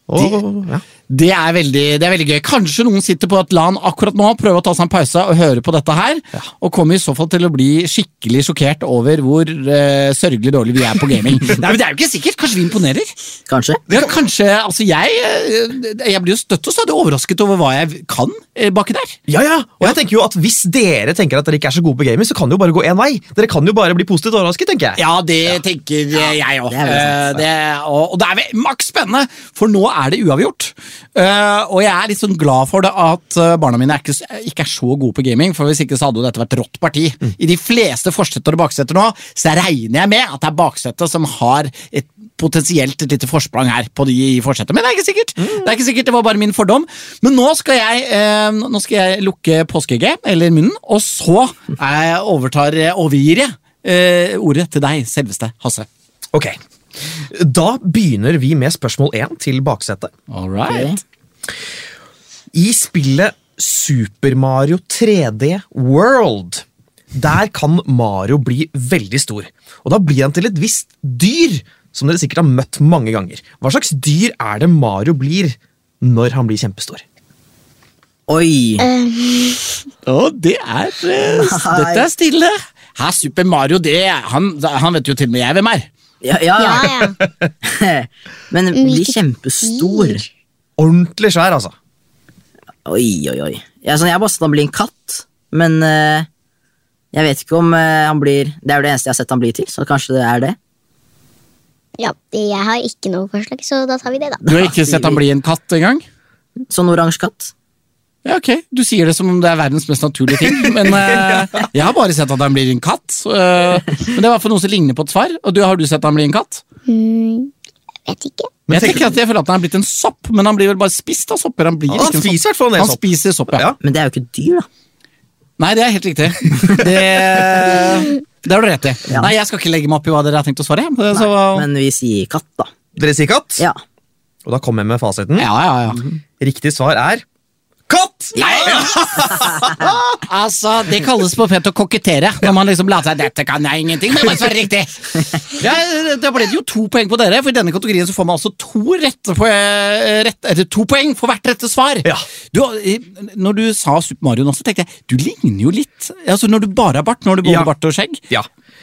Speaker 5: Og, ja.
Speaker 1: Det er, veldig, det er veldig gøy. Kanskje noen sitter på et LAN akkurat nå, prøver å ta seg en pause og høre på dette her, og kommer i så fall til å bli skikkelig sjokkert over hvor eh, sørgelig dårlig vi er på gaming. Nei, men Det er jo ikke sikkert. Kanskje vi imponerer?
Speaker 2: Kanskje.
Speaker 1: Ja, kanskje, altså jeg, eh, jeg blir jo støtt og stadig overrasket over hva jeg kan eh, baki der.
Speaker 5: Ja, ja, og jeg tenker jo at Hvis dere tenker at dere ikke er så gode på gaming, så kan det jo bare gå én vei. Dere kan jo bare bli positivt overrasket, tenker jeg.
Speaker 1: Ja, det tenker eh, jeg òg.
Speaker 2: det er veldig sant. altså.
Speaker 1: Og og det er ve- maks spennende, for nå er det uavgjort. Eh, Og jeg er litt sånn glad for det at eh, barna mine er ikke, s- ikke er så gode på gaming, for hvis ikke så hadde jo dette vært rått parti.
Speaker 2: Mm.
Speaker 1: I de fleste forsetter og baksetter nå, så regner jeg med at det er baksetet som har et potensielt et lite forsprang her på de i forsetet, men det er ikke sikkert.
Speaker 2: Mm.
Speaker 1: Det er ikke sikkert, det var bare min fordom. Men nå skal jeg, eh, nå skal jeg lukke påskeegget, eller munnen, og så eh, overtar, overgir jeg eh, ordet til deg, selveste Hasse.
Speaker 5: Ok, Da begynner vi med spørsmål én til baksetet.
Speaker 1: All right.
Speaker 5: I spillet Super Mario 3D World der kan Mario bli veldig stor. Og da blir han til et visst dyr som dere sikkert har møtt mange ganger. Hva slags dyr er det Mario blir når han blir kjempestor?
Speaker 2: Oi!
Speaker 3: Eh,
Speaker 1: Å, det er eh, s-
Speaker 2: Nei.
Speaker 1: Dette er stille. Her, Super Mario, det han, han vet jo til og med jeg hvem er.
Speaker 2: Ja, ja.
Speaker 3: Ja, ja.
Speaker 2: Men bli
Speaker 3: hvilket
Speaker 2: kjempestor.
Speaker 3: dyr?
Speaker 5: Ordentlig svær, altså.
Speaker 2: Oi, oi, oi. Jeg, er sånn, jeg har bare sett han bli en katt, men eh, jeg vet ikke om eh, han blir Det er jo det eneste jeg har sett han bli til, så kanskje det er det.
Speaker 3: Ja, det- jeg har ikke noe forslag, så da tar vi det, da.
Speaker 1: Du har ikke sett han bli en katt engang?
Speaker 2: Sånn oransje katt.
Speaker 1: Ja, ok. Du sier det som om det er verdens mest naturlige ting, men eh, jeg har bare sett at han blir en katt. eh, men det er i hvert fall noe som ligner på et svar, og du, har du sett han bli en katt?
Speaker 3: Hmm, jeg vet ikke.
Speaker 1: jeg tenker at jeg føler at han er blitt en sopp, men han blir vel bare spist av sopper. Han, blir
Speaker 5: Han
Speaker 1: ikke en
Speaker 5: spiser i
Speaker 1: sopp.
Speaker 5: hvert fall en del
Speaker 1: Han
Speaker 5: sopp.
Speaker 1: spiser sopp, ja.
Speaker 5: Ja.
Speaker 2: Men det er jo ikke et dyr, da.
Speaker 1: Nei, det er helt riktig. Det, det har du rett i.
Speaker 2: Ja.
Speaker 1: Nei, jeg skal ikke legge meg opp i hva dere har tenkt å svare. jeg. Så,
Speaker 2: Men vi sier katt, da.
Speaker 5: Dere sier katt?
Speaker 2: Ja.
Speaker 5: Og da kommer jeg med fasiten.
Speaker 1: ja, ja, ja.
Speaker 5: Riktig svar er katt!
Speaker 1: Altså, Det kalles på pent å kokettere, når man liksom later seg 'dette kan jeg ingenting', men bare svare riktig. Ja, da ble det jo to poeng på dere, for i denne kategorien så får man altså to, rette po- eh, rett, eller to poeng for hvert rette svar.
Speaker 5: Ja.
Speaker 1: Du, eh, når du sa Super Mario nå, så tenkte jeg du ligner jo litt. Altså, Når du bare har bart, når du både
Speaker 5: Ja.
Speaker 1: bart og skjegg.
Speaker 5: Ja,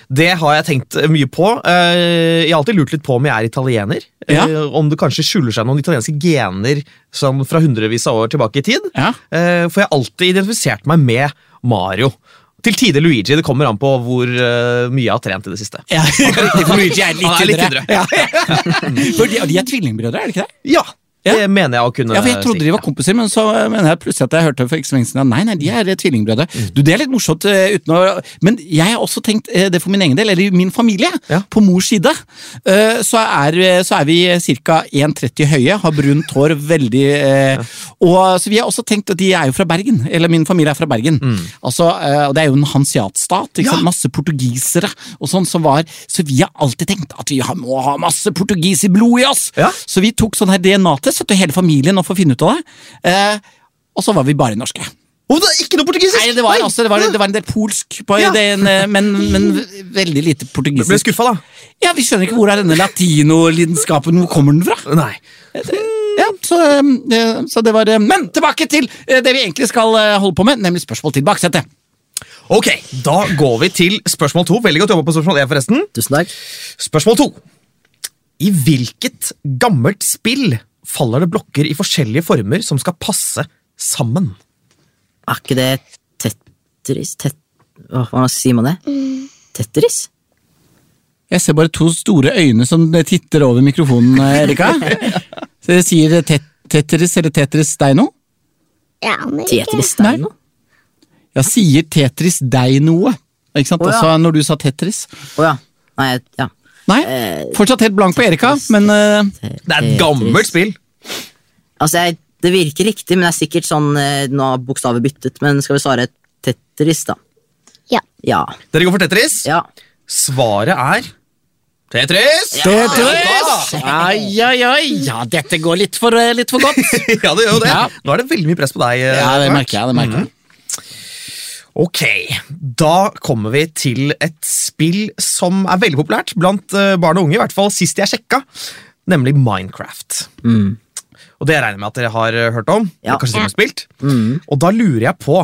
Speaker 5: det har jeg tenkt mye på. Eh, Jeg har alltid lurt litt på om jeg er italiener.
Speaker 1: Ja.
Speaker 5: Eh, Om det kanskje skjuler seg noen italienske gener sånn fra hundrevis av år tilbake i tid.
Speaker 1: Ja.
Speaker 5: Eh, For jeg har alltid identifisert meg med Mario. Til tider Luigi. Det kommer an på hvor eh, mye jeg har trent i det siste.
Speaker 1: Ja, riktig, for Luigi er litt
Speaker 5: Han er litt
Speaker 1: tynnere. Ja. For de, og de er tvillingbrødre, er det ikke det?
Speaker 5: Ja, Det
Speaker 1: Ja.
Speaker 5: mener jeg å kunne
Speaker 1: Ja, for Jeg trodde
Speaker 5: si.
Speaker 1: de var kompiser, men så eh, mener jeg plutselig at jeg hørte for ikke så lenge siden at nei, nei, de er eh, tvillingbrødre.
Speaker 5: Mm.
Speaker 1: Du, Det er litt morsomt, eh, uten å Men jeg har også tenkt eh, det for min egen del, eller i min familie.
Speaker 5: Ja.
Speaker 1: På mors side eh, så er, eh, så er vi ca. 1,30 høye, har brunt hår, veldig eh, Og så vi har også tenkt at de er jo fra Bergen, eller min familie er fra Bergen.
Speaker 5: Mm.
Speaker 1: Altså, eh, og det er jo en hansiatstat, ikke sant? masse portugisere og sånn som var Så vi har alltid tenkt at vi har, må ha masse portugis i blodet i oss!
Speaker 5: Ja.
Speaker 1: Så vi tok sånn her DNA-test, vet du, hele familien, og for å finne ut av det. Eh, og så var vi bare norske.
Speaker 5: Å, det er ikke noe portugisisk!
Speaker 1: Nei, det var, altså, det var, det var en del polsk, på,
Speaker 5: Ja.
Speaker 1: det er en, eh, men, men veldig lite
Speaker 5: Jeg ble
Speaker 1: portugisisk.
Speaker 5: skuffa, da.
Speaker 1: Ja, Vi skjønner ikke hvor er denne latinolidenskapen hvor kommer den fra?
Speaker 5: Nei.
Speaker 1: Ja, så, eh, så det var eh, Men tilbake til eh, det vi egentlig skal eh, holde på med, nemlig spørsmål til baksetet.
Speaker 5: Ok, da går vi til spørsmål to. Veldig godt jobba på spørsmål én, forresten.
Speaker 2: Tusen takk.
Speaker 5: Spørsmål to. I hvilket gammelt spill faller det blokker i forskjellige former som skal passe sammen?
Speaker 2: Er ikke det Tetris? Tet Åh, hva sier man det?
Speaker 3: Mm.
Speaker 2: Tetris?
Speaker 1: Jeg ser bare to store øyne som eh, titter over mikrofonen, eh, Erika. Så jeg sier eh, tet Tetris eller Tetris deg nå?
Speaker 3: Jeg aner ikke.
Speaker 2: Tetris det er noe?
Speaker 1: Ja, sier Tetris deg noe? Ikke sant?
Speaker 2: Å, ja.
Speaker 1: Også når du sa Tetris.
Speaker 2: Å ja. Nei, ja.
Speaker 1: Nei, fortsatt helt blank på Erika, men eh,
Speaker 5: Det er et gammelt spill.
Speaker 2: Altså, jeg, det virker riktig, men det er sikkert sånn eh, Nå har bokstavet byttet, men skal vi svare Tetris, da?
Speaker 3: Ja.
Speaker 2: Ja.
Speaker 5: Dere går for Tetris.
Speaker 2: Ja.
Speaker 5: Svaret er Tetris!
Speaker 1: Tetris! Ai, ai, ai. Ja, dette går litt for, eh, litt for godt.
Speaker 5: Ja, det gjør jo det.
Speaker 1: Ja.
Speaker 5: Nå er det veldig mye press på deg. eh,
Speaker 1: Ja, det
Speaker 5: Mark.
Speaker 1: merker jeg. det merker jeg.
Speaker 5: Ok, da kommer vi til et spill som er veldig populært blant eh, barn og unge, i hvert fall sist jeg sjekka, nemlig Minecraft.
Speaker 1: Mm.
Speaker 5: Og det regner jeg med at dere har eh, hørt om,
Speaker 2: Ja.
Speaker 5: eller kanskje dere har spilt.
Speaker 1: Mm.
Speaker 5: Og da lurer jeg på,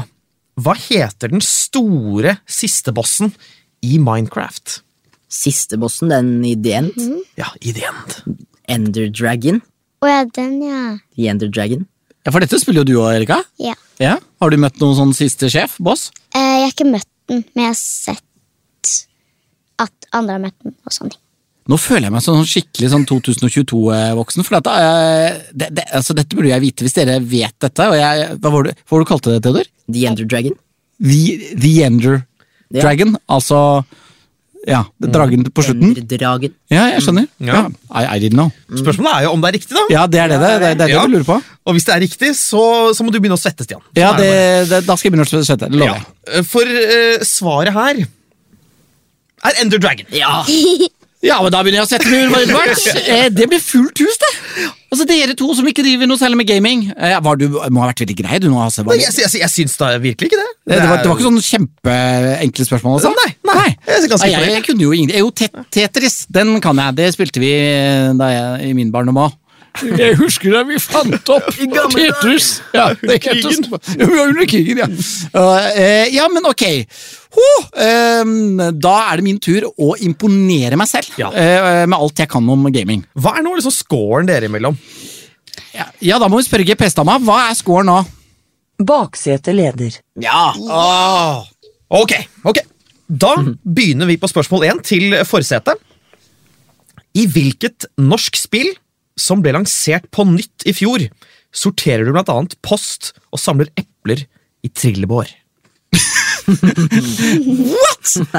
Speaker 5: hva heter den store siste bossen i Minecraft?
Speaker 2: Siste bossen, den i The End.
Speaker 3: Mhm.
Speaker 5: Ja, i the end.
Speaker 2: Ender Dragon.
Speaker 3: Å ja, den, ja.
Speaker 2: The Ender Dragon.
Speaker 1: Ja, For dette spiller jo du òg, Erika.
Speaker 3: ja.
Speaker 1: Ja. Har du møtt noen sånn siste sjef? Boss?
Speaker 3: Eh, Jeg har ikke møtt den, men jeg har sett at andre har møtt den. og sånne ting.
Speaker 1: Nå føler jeg meg som sånn skikkelig sånn 2022-voksen. for dette, eh, det, det, altså, dette burde jeg vite hvis dere vet dette. og jeg, Hva var det hva var det du kalte det, Theodor?
Speaker 2: The Ender Dragon.
Speaker 1: The, the Ender
Speaker 2: Ja.
Speaker 1: Dragon? Altså ja, dragen på slutten?
Speaker 2: Ender Dragen.
Speaker 1: Ja, jeg skjønner.
Speaker 5: Ja.
Speaker 1: I, I didn't know.
Speaker 5: Spørsmålet er jo om det er riktig, da.
Speaker 1: Ja, det er det det, det, er det
Speaker 5: Ja.
Speaker 1: du lurer på.
Speaker 5: Og hvis det er riktig, så, så må du begynne å svette, Stian. Sånn
Speaker 1: Ja,
Speaker 5: er
Speaker 1: det,
Speaker 5: bare.
Speaker 1: det, Da skal jeg begynne å svette. det Lover
Speaker 5: Ja.
Speaker 1: jeg.
Speaker 5: For eh, svaret her er Ender Dragon.
Speaker 2: Ja!
Speaker 1: Ja, men da begynner jeg å sette meg umiddelbart. Eh, Det blir fullt hus, det. Altså, Dere to som ikke driver noe særlig med gaming. Eh, Var du, må ha vært veldig grei, du nå, Hasse. Var,
Speaker 5: Nei,
Speaker 1: du-
Speaker 5: Jeg, jeg, jeg syns da virkelig ikke det.
Speaker 1: det, det, var, det var ikke sånn kjempeenkle spørsmål? altså?
Speaker 5: Nei, nei, jeg er ganske
Speaker 1: Nei, jeg, jeg kunne jo ingen... Jo, Tet- Tetris, den kan jeg. Det spilte vi eh, da jeg, i min barndom òg. Jeg husker da vi fant opp Tetris! Ja, det er ikke krigen. Ja, vi var under krigen, ja. Uh, eh, ja, men ok. Ho, ehm, da er det min tur å imponere meg selv
Speaker 5: Ja.
Speaker 1: eh, med alt jeg kan om gaming.
Speaker 5: Hva er nå liksom scoren dere imellom?
Speaker 1: Ja, ja da må vi spørre GPS-dama. Hva er scoren nå?
Speaker 4: Baksete leder.
Speaker 5: Ja! Ok, ok. Da begynner vi på spørsmål én til forsetet. I hvilket norsk spill som ble lansert på nytt i fjor, sorterer du blant annet post og samler epler i trillebår?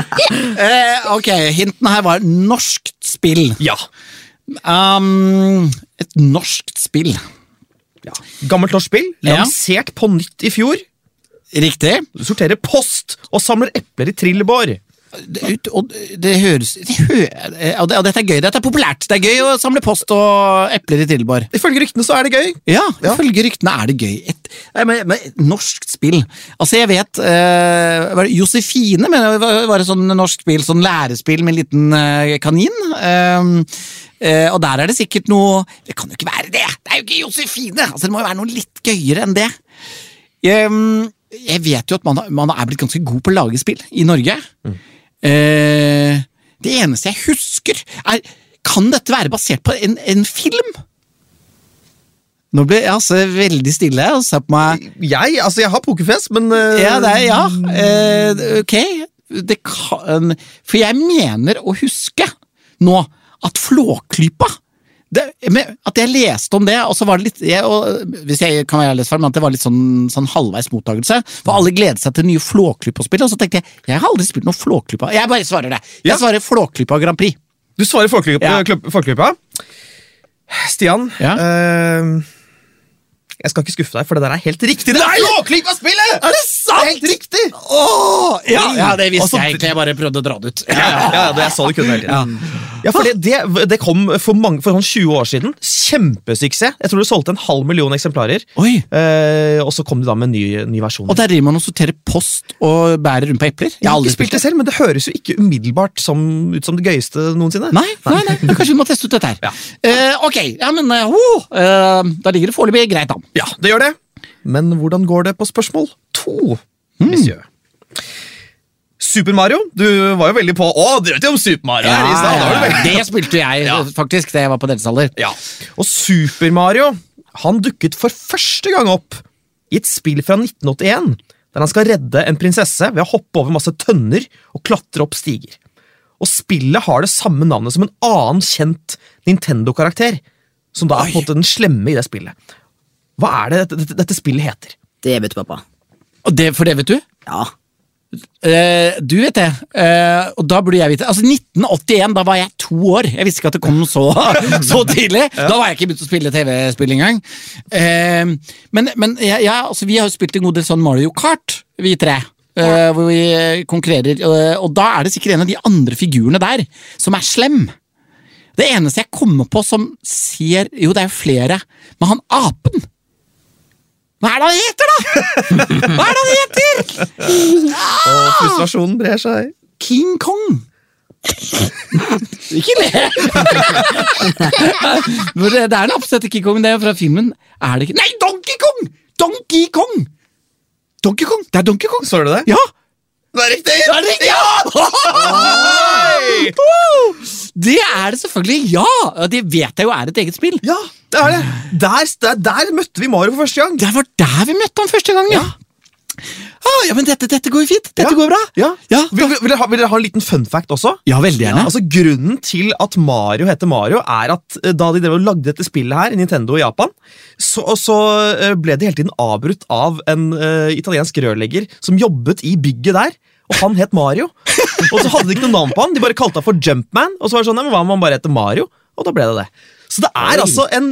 Speaker 1: Eh, ok, hintene her var norskt spill.
Speaker 5: Ja.
Speaker 1: Um, et norskt spill.
Speaker 5: Gammelt norsk spill,
Speaker 1: Ja.
Speaker 5: lansert på nytt i fjor.
Speaker 1: Riktig.
Speaker 5: Du sorterer post og samler epler i trillebår.
Speaker 1: Det, ut- og det høres det hø, eh, og, det, og dette er gøy. Dette er populært. Det er gøy å samle post og epler i Trilleborg.
Speaker 5: Ifølge ryktene så er det gøy.
Speaker 1: Ja, ifølge ryktene er det gøy. Et, nei, men, men, et norsk spill. Altså, jeg vet eh, var det Josefine men det var, var et sånn norsk spill, sånn lærespill med en liten eh, kanin. Ehm, eh, og der er det sikkert noe Det kan jo ikke være det! Det er jo ikke Josefine! Altså, det må jo være noe litt gøyere enn det. Ehm, jeg vet jo at man, har- man er blitt ganske god på å lage spill i Norge. Eh, det eneste jeg husker, er Kan dette være basert på en, en film? Nå ble jeg altså veldig stille og ser på meg
Speaker 5: Jeg, altså jeg har pokerfjes, men eh,
Speaker 1: Ja, det er ja. Eh, ok. Det kan For jeg mener å huske nå at Flåklypa, det, men at jeg leste om det, og så var det litt jeg, og, Hvis jeg kan være ærlig, Sverre, men at det var litt sånn, sånn halvveis mottagelse. For alle gledet seg til nye Flåklypa-spill, og så tenkte jeg jeg har aldri spilt noe Flåklypa. Jeg bare svarer det. Jeg
Speaker 5: Ja.
Speaker 1: svarer Flåklypa Grand Prix.
Speaker 5: Du svarer Folkeklypa.
Speaker 1: Ja.
Speaker 5: kløp- folkeklypa. Stian,
Speaker 1: Ja.
Speaker 5: eh, jeg skal ikke skuffe deg, for det der er helt riktig. Det er Flåklypa-spillet!
Speaker 1: Er det sant?!
Speaker 5: Helt riktig!
Speaker 1: Åh, ja, ja, det visste
Speaker 5: Altså,
Speaker 1: jeg egentlig. Jeg bare prøvde å dra det ut.
Speaker 5: Ja, ja, ja, det, jeg så det kunne hele tiden. Ja, for det, det, det kom for, mange, for sånn 20 år siden. Kjempesuksess. Jeg tror det solgte en halv million eksemplarer.
Speaker 1: Oi.
Speaker 5: Eh, og så kom de da med en ny, ny versjon.
Speaker 1: Og der driver man og sorterer post og bærer rundt på epler.
Speaker 5: jeg har aldri spilt det selv, men det høres jo ikke umiddelbart som, ut som det gøyeste noensinne.
Speaker 1: Nei, nei, nei. Du, kanskje vi må teste ut dette her.
Speaker 5: Ja.
Speaker 1: Eh, ok, ja, men eh, oh, eh, da ligger det foreløpig greit an.
Speaker 5: Ja, det gjør det. Men hvordan går det på spørsmål to, monsieur? Hmm. Super Mario, du var jo veldig på Å, du vet jo om Super Mario her i stad! da var du veldig-
Speaker 1: det spilte jeg
Speaker 5: Ja.
Speaker 1: faktisk da jeg var på deres alder.
Speaker 5: Ja. Og Super Mario han dukket for første gang opp i et spill fra 1981, der han skal redde en prinsesse ved å hoppe over masse tønner og klatre opp stiger. Og Spillet har det samme navnet som en annen kjent Nintendo-karakter, som da er på en måte den slemme i det spillet. Hva er det dette, dette, dette spillet heter?
Speaker 2: Det vet du, pappa.
Speaker 1: Og det, for det vet du?
Speaker 2: Ja.
Speaker 1: Eh, du vet det. Eh, og da burde jeg vite Altså 1981, da var jeg to år. Jeg visste ikke at det kom så, så tidlig. Da var jeg ikke begynt å spille TV-spill engang. Eh, men men ja, ja, altså, vi har jo spilt en god del sånn Mario Kart, vi tre. eh, Hvor vi eh, konkurrerer. eh, og da er det sikkert en av de andre figurene der som er slem. Det eneste jeg kommer på som ser Jo, det er jo flere. Men han apen Hva er det han heter, da?! Hva er det han heter?!
Speaker 5: Og frustrasjonen brer seg.
Speaker 1: King Kong. Ikke le! For det det er en oppsett til King Kong, det er fra filmen. Er det ikke Nei, Donkey Kong! Donkey Kong! Donkey Kong, Det er Donkey Kong.
Speaker 5: Så du det?
Speaker 1: Ja!
Speaker 5: Det er riktig!
Speaker 1: Det er riktig! Ja! Det er det selvfølgelig. Ja! Og Det vet jeg jo er et eget spill.
Speaker 5: Ja, det er det. Der, der, der møtte vi Mario for første gang.
Speaker 1: Det var der vi møtte ham første gang, ja. Ah, ja, men dette, dette går jo fint. Dette
Speaker 5: Ja.
Speaker 1: går bra.
Speaker 5: Ja.
Speaker 1: Ja,
Speaker 5: Vil, vil, vil, dere ha, vil dere ha en liten fun fact også?
Speaker 1: Ja, veldig gjerne.
Speaker 5: Altså, grunnen til at Mario heter Mario, er at eh, da de drev og lagde dette spillet her, Nintendo i Japan, så, og så eh, ble det hele tiden avbrutt av en eh, italiensk rørlegger som jobbet i bygget der. Og han het Mario. Og så hadde de ikke noe navn på han, de bare kalte han for Jumpman. Og så var det sånn, "Nei, men hva om han bare heter Mario? Og da ble det det. Så det er altså en,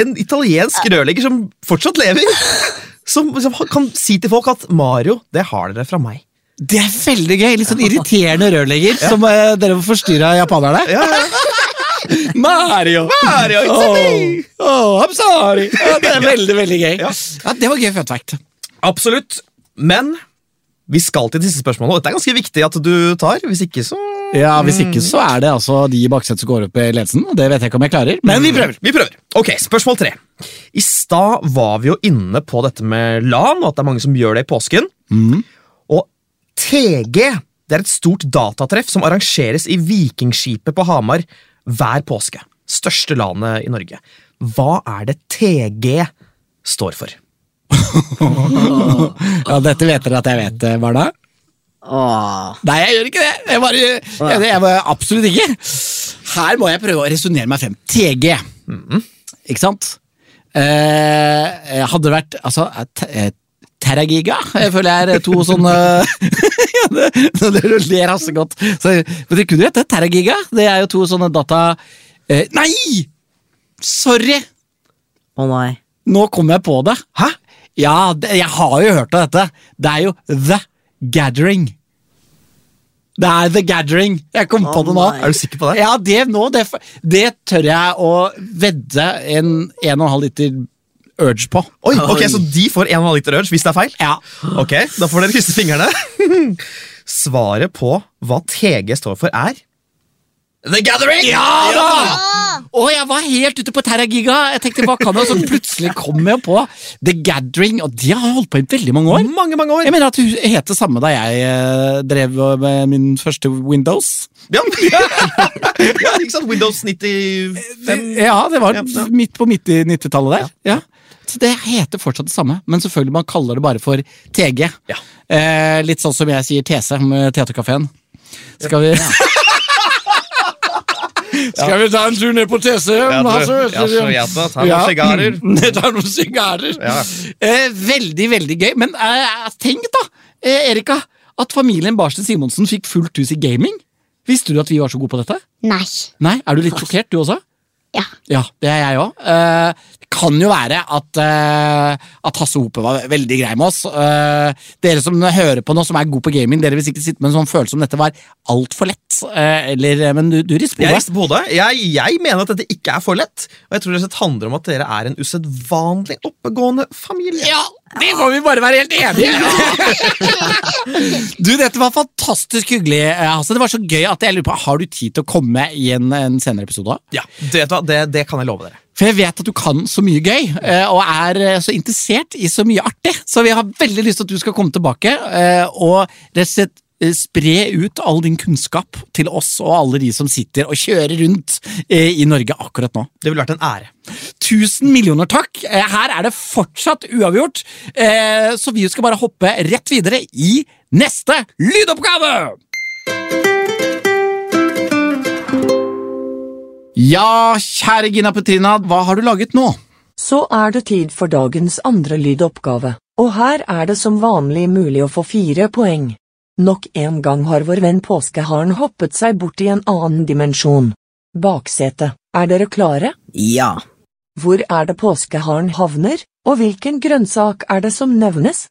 Speaker 5: en italiensk rørlegger som fortsatt lever, som, som kan si til folk at Mario, det har dere fra meg.
Speaker 1: Det er veldig gøy. Litt sånn irriterende rørlegger som eh, dere får forstyrra japanerne. Mario!
Speaker 5: Mario, it's a me!
Speaker 1: Åh, åh, I'm sorry! Ja, det er veldig, veldig gøy. Ja. Det var gøy fun fact.
Speaker 5: Absolutt. Men vi skal til disse spørsmålene, og dette er ganske viktig at du tar. Hvis ikke, så
Speaker 1: Ja, Hvis ikke så er det altså de i baksetet som går opp i ledelsen. og Det vet jeg ikke om jeg klarer, men vi prøver.
Speaker 5: Vi prøver. Ok, Spørsmål tre. I stad var vi jo inne på dette med LAN, og at det er mange som gjør det i påsken.
Speaker 1: Mm.
Speaker 5: Og TG det er et stort datatreff som arrangeres i Vikingskipet på Hamar hver påske. Største LAN-et i Norge. Hva er det TG står for?
Speaker 1: Ja, Dette vet dere at jeg vet, eh, Barna.
Speaker 2: Åh.
Speaker 1: Nei, jeg gjør ikke det. Jeg bare, jeg, jeg, bare- absolutt ikke. Her må jeg prøve å resonnere meg frem. TG. Ikke sant? Eh, hadde det vært altså, eh, te- eh, Terragiga? Jeg føler jeg er eh, to sånne Ja, det- Dere ler altså godt. Så, men dere kunne jo hete Terragiga. Det er jo to sånne data... Eh, nei! Sorry!
Speaker 2: Å nei.
Speaker 1: Nå kom jeg på det. Hæ? Ja, det, jeg har jo hørt av dette. Det er jo The Gathering. Det er The Gathering. Jeg kom på det nå.
Speaker 2: nei.
Speaker 5: Er du sikker på det?
Speaker 1: Ja, det nå, det, det tør jeg å vedde en 1,5 liter Urge på.
Speaker 5: Oi, ok, Så de får 1,5 liter urge hvis det er feil?
Speaker 1: Ja.
Speaker 5: Ok, Da får dere krysse fingrene. Svaret på hva TG står for, er The Gathering!
Speaker 1: Ja da! Å, jeg var helt ute på Terra Giga. Jeg tenkte, hva kan jeg? Så plutselig kom jeg på The Gathering, og de har holdt på i veldig mange år.
Speaker 5: Mange, mange år.
Speaker 1: Jeg mener at hun het det samme da jeg eh, drev med min første Windows.
Speaker 5: Ja, ja ikke sant? Windows 95
Speaker 1: Ja, det var
Speaker 5: Ja, ja.
Speaker 1: midt på midt i 90-tallet der. Ja. Så Det heter fortsatt det samme, men selvfølgelig man kaller det bare for TG.
Speaker 5: Ja.
Speaker 1: Eh, litt sånn som jeg sier TC med Theatercaféen. Skal vi
Speaker 6: Skal vi ta en tur ned på TC?
Speaker 5: Ja, du-
Speaker 6: Hasse?
Speaker 5: ja, så gjerne, ta noen sigarer.
Speaker 6: Mm, ta noen sigarer.
Speaker 5: Ja.
Speaker 1: Eh, veldig, veldig gøy. Men eh, tenk da, eh, Erika, at familien Barsten Simonsen fikk fullt hus i gaming. Visste du at vi var så gode på dette?
Speaker 3: Nei.
Speaker 1: Nei, Er du litt sjokkert, du også?
Speaker 3: Ja.
Speaker 1: Ja, det er jeg òg. Det kan jo være at, eh, at Hasse Hope var veldig grei med oss. Eh, dere som hører på nå, som er gode på gaming, dere vil sikkert sitte med en sånn følelse om dette var altfor lett. eh, eller, men du, du risper
Speaker 5: Jeg
Speaker 1: hodet.
Speaker 5: rister på hodet. Jeg, jeg mener at dette ikke er for lett. Og jeg tror det handler om at dere er en usedvanlig oppegående familie.
Speaker 1: Ja, det må vi bare være helt enige i! du, dette var fantastisk hyggelig, eh, Hasse. Det var så gøy at jeg lurer på, Har du tid til å komme i en, en senere episode? også?
Speaker 5: Ja, det, vet du hva, det, det kan jeg love dere.
Speaker 1: For jeg vet at du kan så mye gøy, eh, og er eh, så interessert i så mye artig. Så vi har veldig lyst til at du skal komme tilbake eh, og rett og slett eh, spre ut all din kunnskap til oss og alle de som sitter og kjører rundt eh, i Norge akkurat nå.
Speaker 5: Det ville vært en ære.
Speaker 1: Tusen millioner takk! Eh, Her er det fortsatt uavgjort, eh, så vi skal bare hoppe rett videre i neste lydoppgave! Ja, kjære Gina Petrina, hva har du laget nå?
Speaker 4: Så er det tid for dagens andre lydoppgave, og her er det som vanlig mulig å få fire poeng. Nok en gang har vår venn påskeharen hoppet seg bort i en annen dimensjon. Baksete, er dere klare?
Speaker 2: Ja.
Speaker 4: Hvor er det påskeharen havner, og hvilken grønnsak er det som nevnes?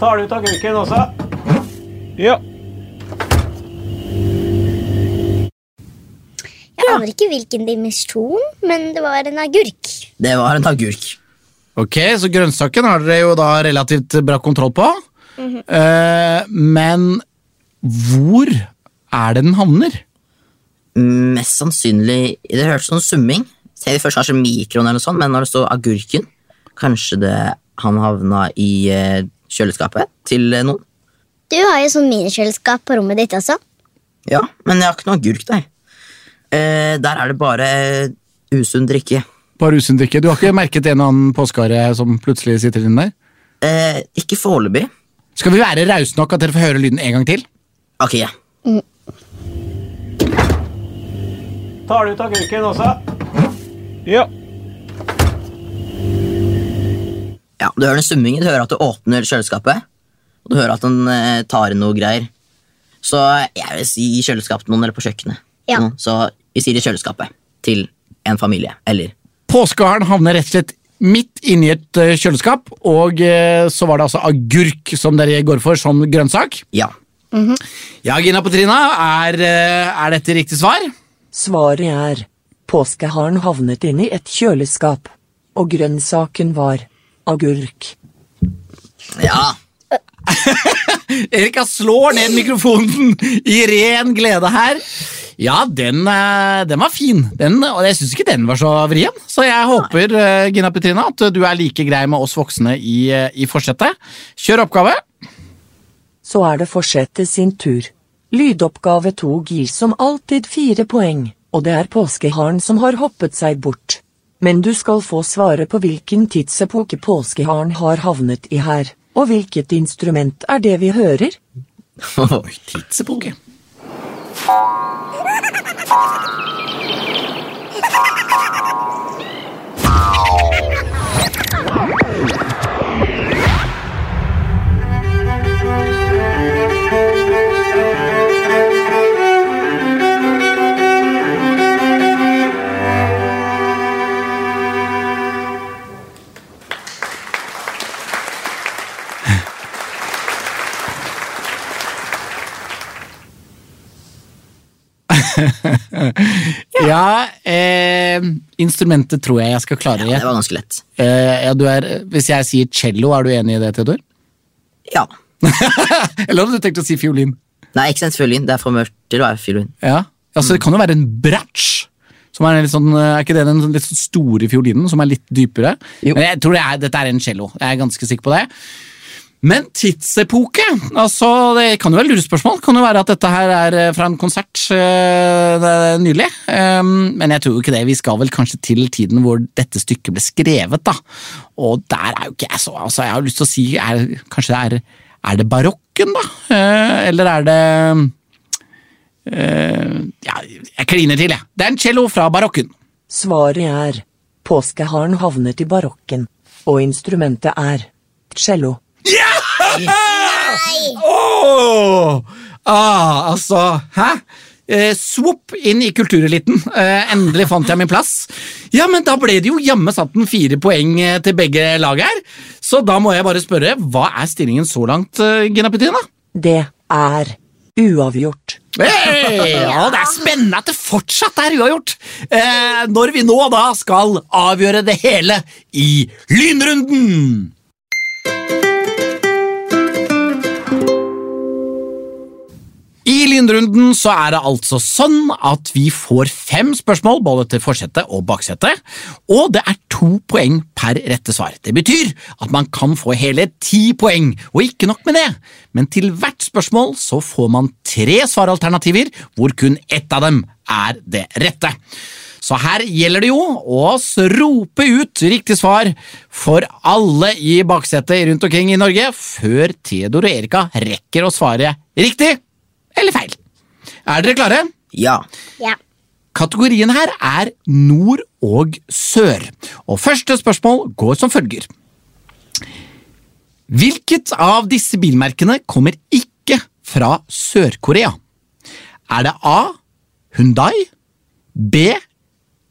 Speaker 7: Tar du ut agurken også? Ja.
Speaker 3: Jeg aner ikke hvilken dimensjon, men det var en agurk.
Speaker 2: Det var en agurk.
Speaker 1: Ok, så grønnsaken har dere jo da relativt bra kontroll på. Eh, men hvor er det den havner?
Speaker 2: Mest sannsynlig Det hørtes ut som summing. Ser vi først kanskje mikroen, eller noe sånt, men når det står agurken Kanskje det han havna i eh, kjøleskapet til eh, noen?
Speaker 3: Du har jo sånn minikjøleskap på rommet ditt også.
Speaker 2: Ja, men jeg har ikke noe agurk der. Eh, der er det bare eh, usunn drikke.
Speaker 1: Bare usunn drikke. Du har ikke merket en og annen påskehare som plutselig sitter inne der?
Speaker 2: Eh, ikke foreløpig.
Speaker 1: Skal vi være rause nok at dere får høre lyden en gang til?
Speaker 2: Ok, ja.
Speaker 7: Tar du ut agurken også? Ja.
Speaker 2: ja. Du hører den summingen, du hører at du åpner kjøleskapet. Og du hører at han eh, tar inn noe greier. Så jeg vil si i kjøleskapet til noen, eller på kjøkkenet.
Speaker 3: Ja.
Speaker 2: Noen. Så vi sier i kjøleskapet til en familie, eller
Speaker 1: Påskeharen havner rett og slett midt inni et eh, kjøleskap, og eh, så var det altså agurk som dere går for som grønnsak.
Speaker 2: ja.
Speaker 1: Ja, Gina Petrina, er, eh, er dette riktig svar?
Speaker 4: Svaret er, påskeharen havnet inn i et kjøleskap, og grønnsaken var agurk.
Speaker 2: Ja,
Speaker 1: Erika slår ned mikrofonen i ren glede her. Ja, den, eh, den var fin, den, og jeg syns ikke den var så vrien. Så jeg håper eh, Gina Petrina, at du er like grei med oss voksne i, eh, i forsetet. Kjør oppgave.
Speaker 4: så er det fortsette sin tur. Lydoppgave to gir som alltid fire poeng, og det er påskeharen som har hoppet seg bort. Men du skal få svare på hvilken tidsepoke påskeharen har havnet i her, og hvilket instrument er det vi hører?
Speaker 1: Tidsepoke. Ja, eh, instrumentet tror jeg jeg skal klare.
Speaker 2: det
Speaker 1: Ja,
Speaker 2: var ganske lett.
Speaker 1: eh, ja, du er, hvis jeg sier cello, er du enig i det, Theodor?
Speaker 2: Ja.
Speaker 1: Eller hadde du tenkt å si fiolin?
Speaker 2: Nei, ikke sant fiolin. Det er for mørkt til å være fiolin.
Speaker 1: Ja, altså Det kan jo være en bratsj. Som er, en litt sånn, eh, er ikke det den litt sånn store fiolinen som er litt dypere?
Speaker 2: Jo.
Speaker 1: Men jeg tror det er, Dette er en cello. Jeg er ganske sikker på det. Men tidsepoke altså Det kan jo være lurespørsmål. Kan jo være at dette her er eh, fra en konsert eh, det er nylig. Eh, Men jeg tror jo ikke det. Vi skal vel kanskje til tiden hvor dette stykket ble skrevet, da. Og der er jo ikke jeg så altså Jeg har lyst til å si er, Kanskje det er Er det barokken, da? Eh, Eller er det eh, Ja, jeg kliner til, jeg. Det er en cello fra barokken.
Speaker 4: Svaret er påskeharen havnet i barokken, og instrumentet er cello.
Speaker 1: Åh! Ah, altså, hæ? Eh, swoop inn i kultureliten. Eh, endelig fant jeg min plass. Ja, men da ble det jo jammen satt en fire poeng eh, til begge lag her. Så da må jeg bare spørre, hva er stillingen så langt, eh, Gina Petina?
Speaker 4: Det er uavgjort.
Speaker 1: Hey! Ja, det er spennende at det fortsatt er uavgjort! Eh, når vi nå da skal avgjøre det hele i lynrunden! I lynrunden så er det altså sånn at vi får fem spørsmål både til forsete og baksete, og det er to poeng per rette svar. Det betyr at man kan få hele ti poeng, og ikke nok med det, men til hvert spørsmål så får man tre svaralternativer hvor kun ett av dem er det rette. Så her gjelder det jo å rope ut riktig svar for alle i baksetet rundt omkring i Norge før Theodor og Erika rekker å svare riktig eller feil. Er dere klare?
Speaker 2: Ja.
Speaker 3: Ja.
Speaker 1: Kategorien her er nord og sør, og første spørsmål går som følger. Hvilket av disse bilmerkene kommer ikke fra Sør-Korea? Er det A. Hyundai, B.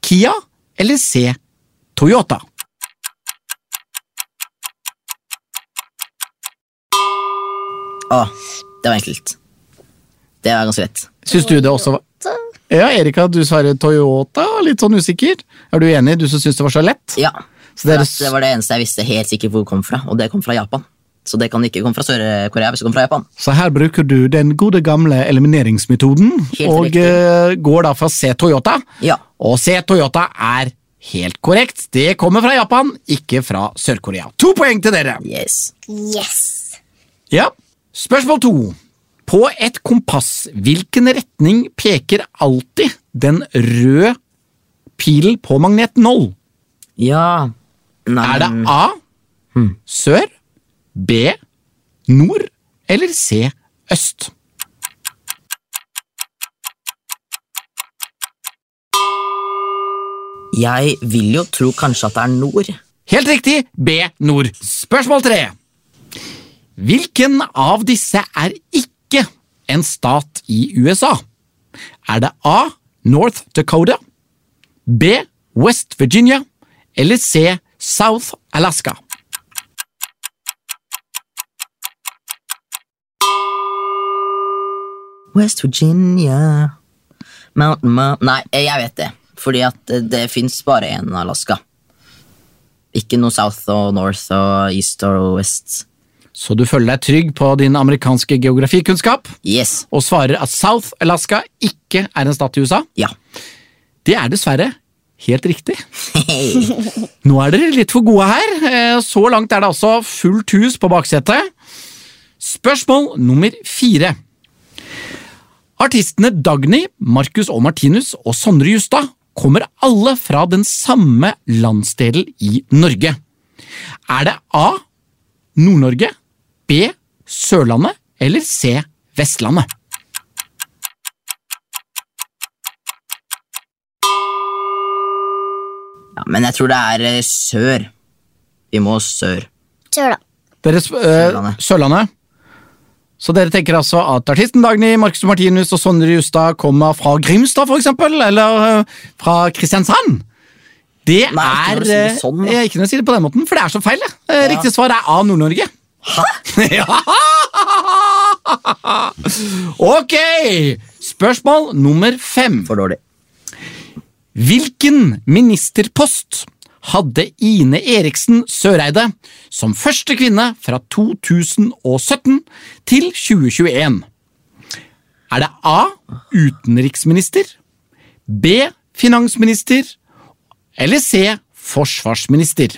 Speaker 1: Kia eller C. Toyota?
Speaker 2: Å, det var enkelt. Det var ganske lett.
Speaker 1: Syns du det også var Ja, Erika, du svarer Toyota. Litt sånn usikker. Er du enig, du som syns det var så lett?
Speaker 2: Ja.
Speaker 1: Så det er-
Speaker 2: For at det var det eneste jeg visste helt sikkert hvor det kom fra, og det kom fra Japan. Så det kan ikke komme fra Sør-Korea hvis det kommer fra Japan.
Speaker 1: Så her bruker du den gode gamle elimineringsmetoden,
Speaker 2: Helt
Speaker 1: og
Speaker 2: riktig.
Speaker 1: eh, går da fra C Toyota.
Speaker 2: Ja.
Speaker 1: Og C Toyota er helt korrekt. Det kommer fra Japan, ikke fra Sør-Korea. To poeng til dere!
Speaker 2: Yes.
Speaker 3: Yes!
Speaker 1: Ja. Spørsmål to. På et kompass, hvilken retning peker alltid den røde pilen på magnet 0?
Speaker 2: Ja. Nei,
Speaker 1: Er det
Speaker 2: men-
Speaker 1: A
Speaker 2: Hmm.
Speaker 1: sør, B nord eller C øst?
Speaker 2: Jeg vil jo tro kanskje at det er nord.
Speaker 1: Helt riktig, B. Nord. Spørsmål tre. Hvilken av disse er ikke en stat i USA? Er det A. North Dakota, B. West Virginia eller C. South Alaska?
Speaker 2: West Virginia Mountain Mount Nei, eh, jeg vet det. Fordi at det, det fins bare én Alaska. Ikke noe south og north og east og west.
Speaker 1: Så du føler deg trygg på din amerikanske geografikunnskap
Speaker 2: Yes.
Speaker 1: og svarer at South Alaska ikke er en stat i USA?
Speaker 2: Ja.
Speaker 1: Det er dessverre helt riktig. Nå er dere litt for gode her. Eh, Så langt er det altså fullt hus på baksetet. Spørsmål nummer fire. Artistene Dagny, Markus og Martinus og Sondre Justad kommer alle fra den samme landsdelen i Norge. Er det A. Nord-Norge, B. Sørlandet eller C. Vestlandet?
Speaker 2: ja. Men jeg tror det er eh, sør. Vi må sør.
Speaker 3: Sør, da.
Speaker 1: Dere, sp- eh,
Speaker 2: Sørlandet.
Speaker 1: Sørlandet. Så dere tenker altså at artisten Dagny, Marcus Martinus og Sondre Justad kommer fra Grimstad, for eksempel? Eller eh, fra Kristiansand? Det
Speaker 2: Nei,
Speaker 1: er
Speaker 2: ikke når du sier det sånn, da.
Speaker 1: eh, Ikke når du sier det på den måten, for det er så feil. det. Eh, Riktig svar er A. Nord-Norge. ja. Ok! Spørsmål nummer fem.
Speaker 2: For dårlig.
Speaker 1: Hvilken ministerpost hadde Ine Eriksen Søreide som første kvinne fra 2017 til 2021? Er det A. Utenriksminister, B. Finansminister eller C. Forsvarsminister?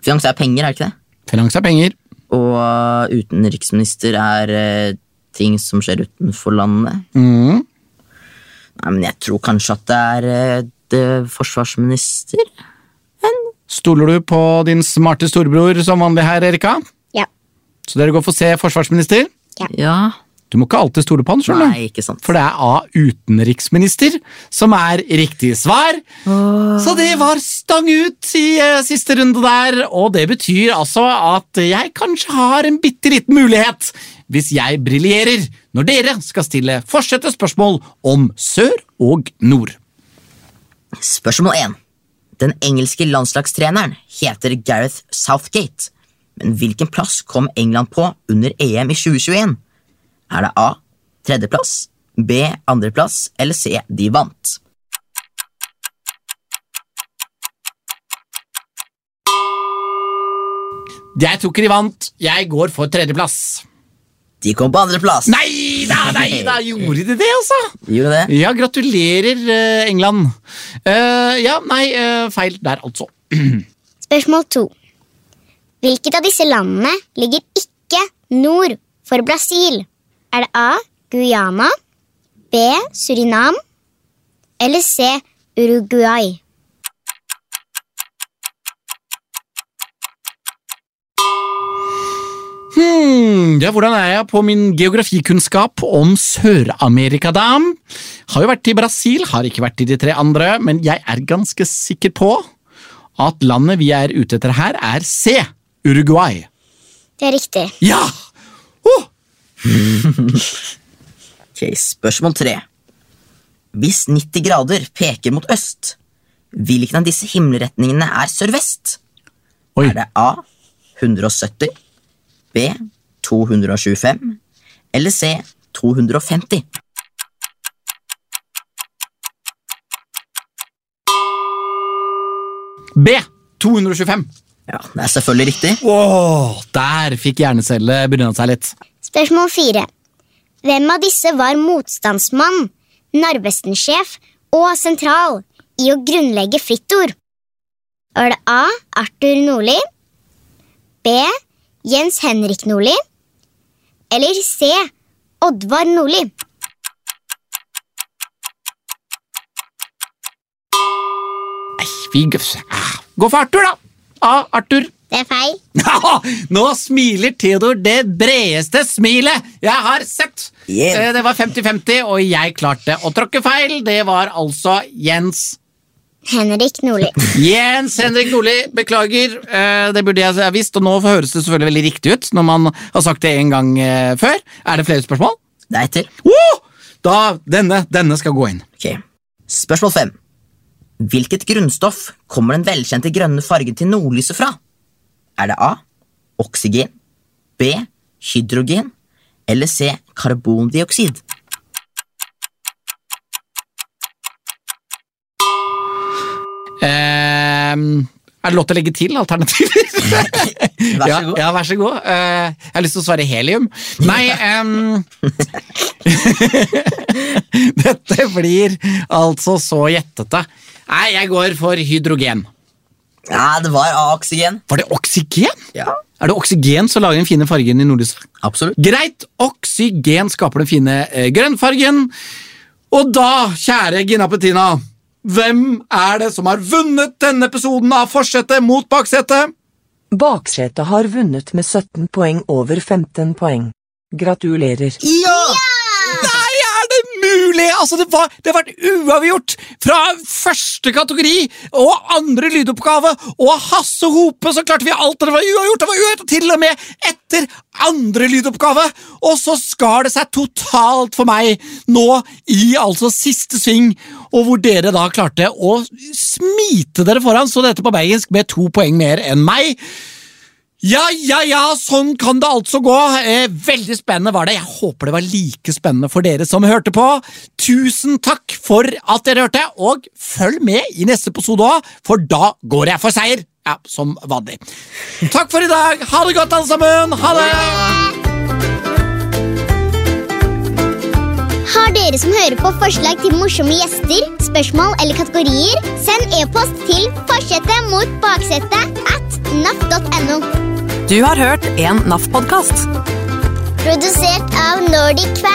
Speaker 2: Finans er penger, er det ikke det?
Speaker 1: Finans er penger.
Speaker 2: Og eh, utenriksminister er eh, ting som skjer utenfor landet.
Speaker 1: Mm.
Speaker 2: Nei, men jeg tror kanskje at det er eh, det forsvarsminister.
Speaker 1: Stoler du på din smarte storebror som vanlig her, Erika?
Speaker 3: Ja.
Speaker 1: Så dere går for C, forsvarsminister.
Speaker 2: Ja,
Speaker 1: Du må ikke alltid stole på han, skjønner du.
Speaker 2: Nei, ikke sant.
Speaker 1: For det er A, utenriksminister, som er riktig svar. Så det var stang ut i eh, siste runde der, og det betyr altså at jeg kanskje har en bitte liten mulighet, hvis jeg briljerer, når dere skal stille fortsette spørsmål om sør og nord.
Speaker 2: Spørsmål 1. Den engelske landslagstreneren heter Gareth Southgate. Men hvilken plass kom England på under EM i 2021? Er det A. Tredjeplass, B. Andreplass eller C. De vant?
Speaker 1: Jeg tok de vant, jeg går for tredjeplass.
Speaker 2: De kom på andreplass!
Speaker 1: Nei da, nei da, gjorde de det, altså?
Speaker 2: Gjorde det?
Speaker 1: Ja, gratulerer, eh, England. Eh, ja, nei, eh, feil der, altså.
Speaker 3: Spørsmål to. Hvilket av disse landene ligger ikke nord for Brasil? Er det A. Guyana, B. Surinam eller C. Uruguay?
Speaker 1: Hmm, ja, Hvordan er jeg på min geografikunnskap om Sør-Amerika, da? Har jo vært i Brasil, har ikke vært i de tre andre, men jeg er ganske sikker på at landet vi er ute etter her, er C. Uruguay.
Speaker 3: Det er riktig.
Speaker 1: Ja! Oh,
Speaker 2: Ok, Spørsmål 3. Hvis 90 grader peker mot øst, hvilken av disse himmelretningene er sørvest?
Speaker 1: Oi.
Speaker 2: Er det A 170, B 225 eller C 250?
Speaker 1: B. 225.
Speaker 2: Ja, Det er selvfølgelig riktig.
Speaker 1: Åh, der fikk hjernecelle bryna seg litt.
Speaker 3: Spørsmål fire. Hvem av disse var motstandsmann, Narvesen-sjef og sentral i å grunnlegge Frittord? Var det A. Arthur Nordli, B. Jens Henrik Nordli eller C. Oddvar Nordli?
Speaker 1: Vi gøfse. Ah, Gå for Arthur, da! A. Arthur.
Speaker 3: Det er feil.
Speaker 1: Nå smiler Theodor det bredeste smilet jeg har sett!
Speaker 2: Yeah.
Speaker 1: Eh, Det var 50-50, og jeg klarte å tråkke feil. Det var altså Jens.
Speaker 3: Henrik Nordli.
Speaker 1: Jens Henrik Nordli, beklager. Eh, Det burde jeg ha visst, og nå høres det selvfølgelig veldig riktig ut når man har sagt det en gang eh, før. Er det flere spørsmål?
Speaker 2: Det er til.
Speaker 1: Oh! Da, denne, denne skal gå inn.
Speaker 2: Ok, Spørsmål 5. Hvilket grunnstoff kommer den velkjente grønne fargen til nordlyset fra? Er det A. Oksygen, B. Hydrogen eller C. Karbondioksid?
Speaker 1: Eh, er det lov til å legge til alternativer?
Speaker 2: Vær så god.
Speaker 1: Ja, ja, vær så god. Eh, jeg har lyst til å svare helium. Nei em, Dette blir altså så gjettete. Nei, jeg går for hydrogen.
Speaker 2: Ja, det var A-oksygen.
Speaker 1: Var det oksygen?
Speaker 2: Ja,
Speaker 1: Er det oksygen som lager den fine fargen i nordlyset?
Speaker 2: absolutt.
Speaker 1: Greit, oksygen skaper den fine eh, grønnfargen. Og da, kjære Gina Petina, hvem er det som har vunnet denne episoden av Forsetet mot baksetet?
Speaker 4: Baksetet har vunnet med 17 poeng over 15 poeng. Gratulerer.
Speaker 1: Nei, er det mulig?! Altså, det, var, det har vært uavgjort fra første kategori og andre lydoppgave, og Hasse Hope så klarte vi alt, og det var uavgjort! Det var uavgjort, og Til og med etter andre lydoppgave! Og så skar det seg totalt for meg nå i altså siste sving, og hvor dere da klarte å smite dere foran, så dette på bergensk med to poeng mer enn meg. Ja, ja, ja, sånn kan det altså gå. Eh, veldig spennende var det. Jeg håper det var like spennende for dere som hørte på. Tusen takk for at dere hørte, og følg med i neste episode òg, for da går jeg for seier. Ja, som vanlig. Takk for i dag. Ha det godt, alle sammen. Ha det!
Speaker 3: Har dere som hører på forslag til morsomme gjester, spørsmål eller kategorier, send e-post til forsetet mot baksetet at naf.no.
Speaker 8: Du har hørt en NAF-podkast.
Speaker 3: Produsert av Nordic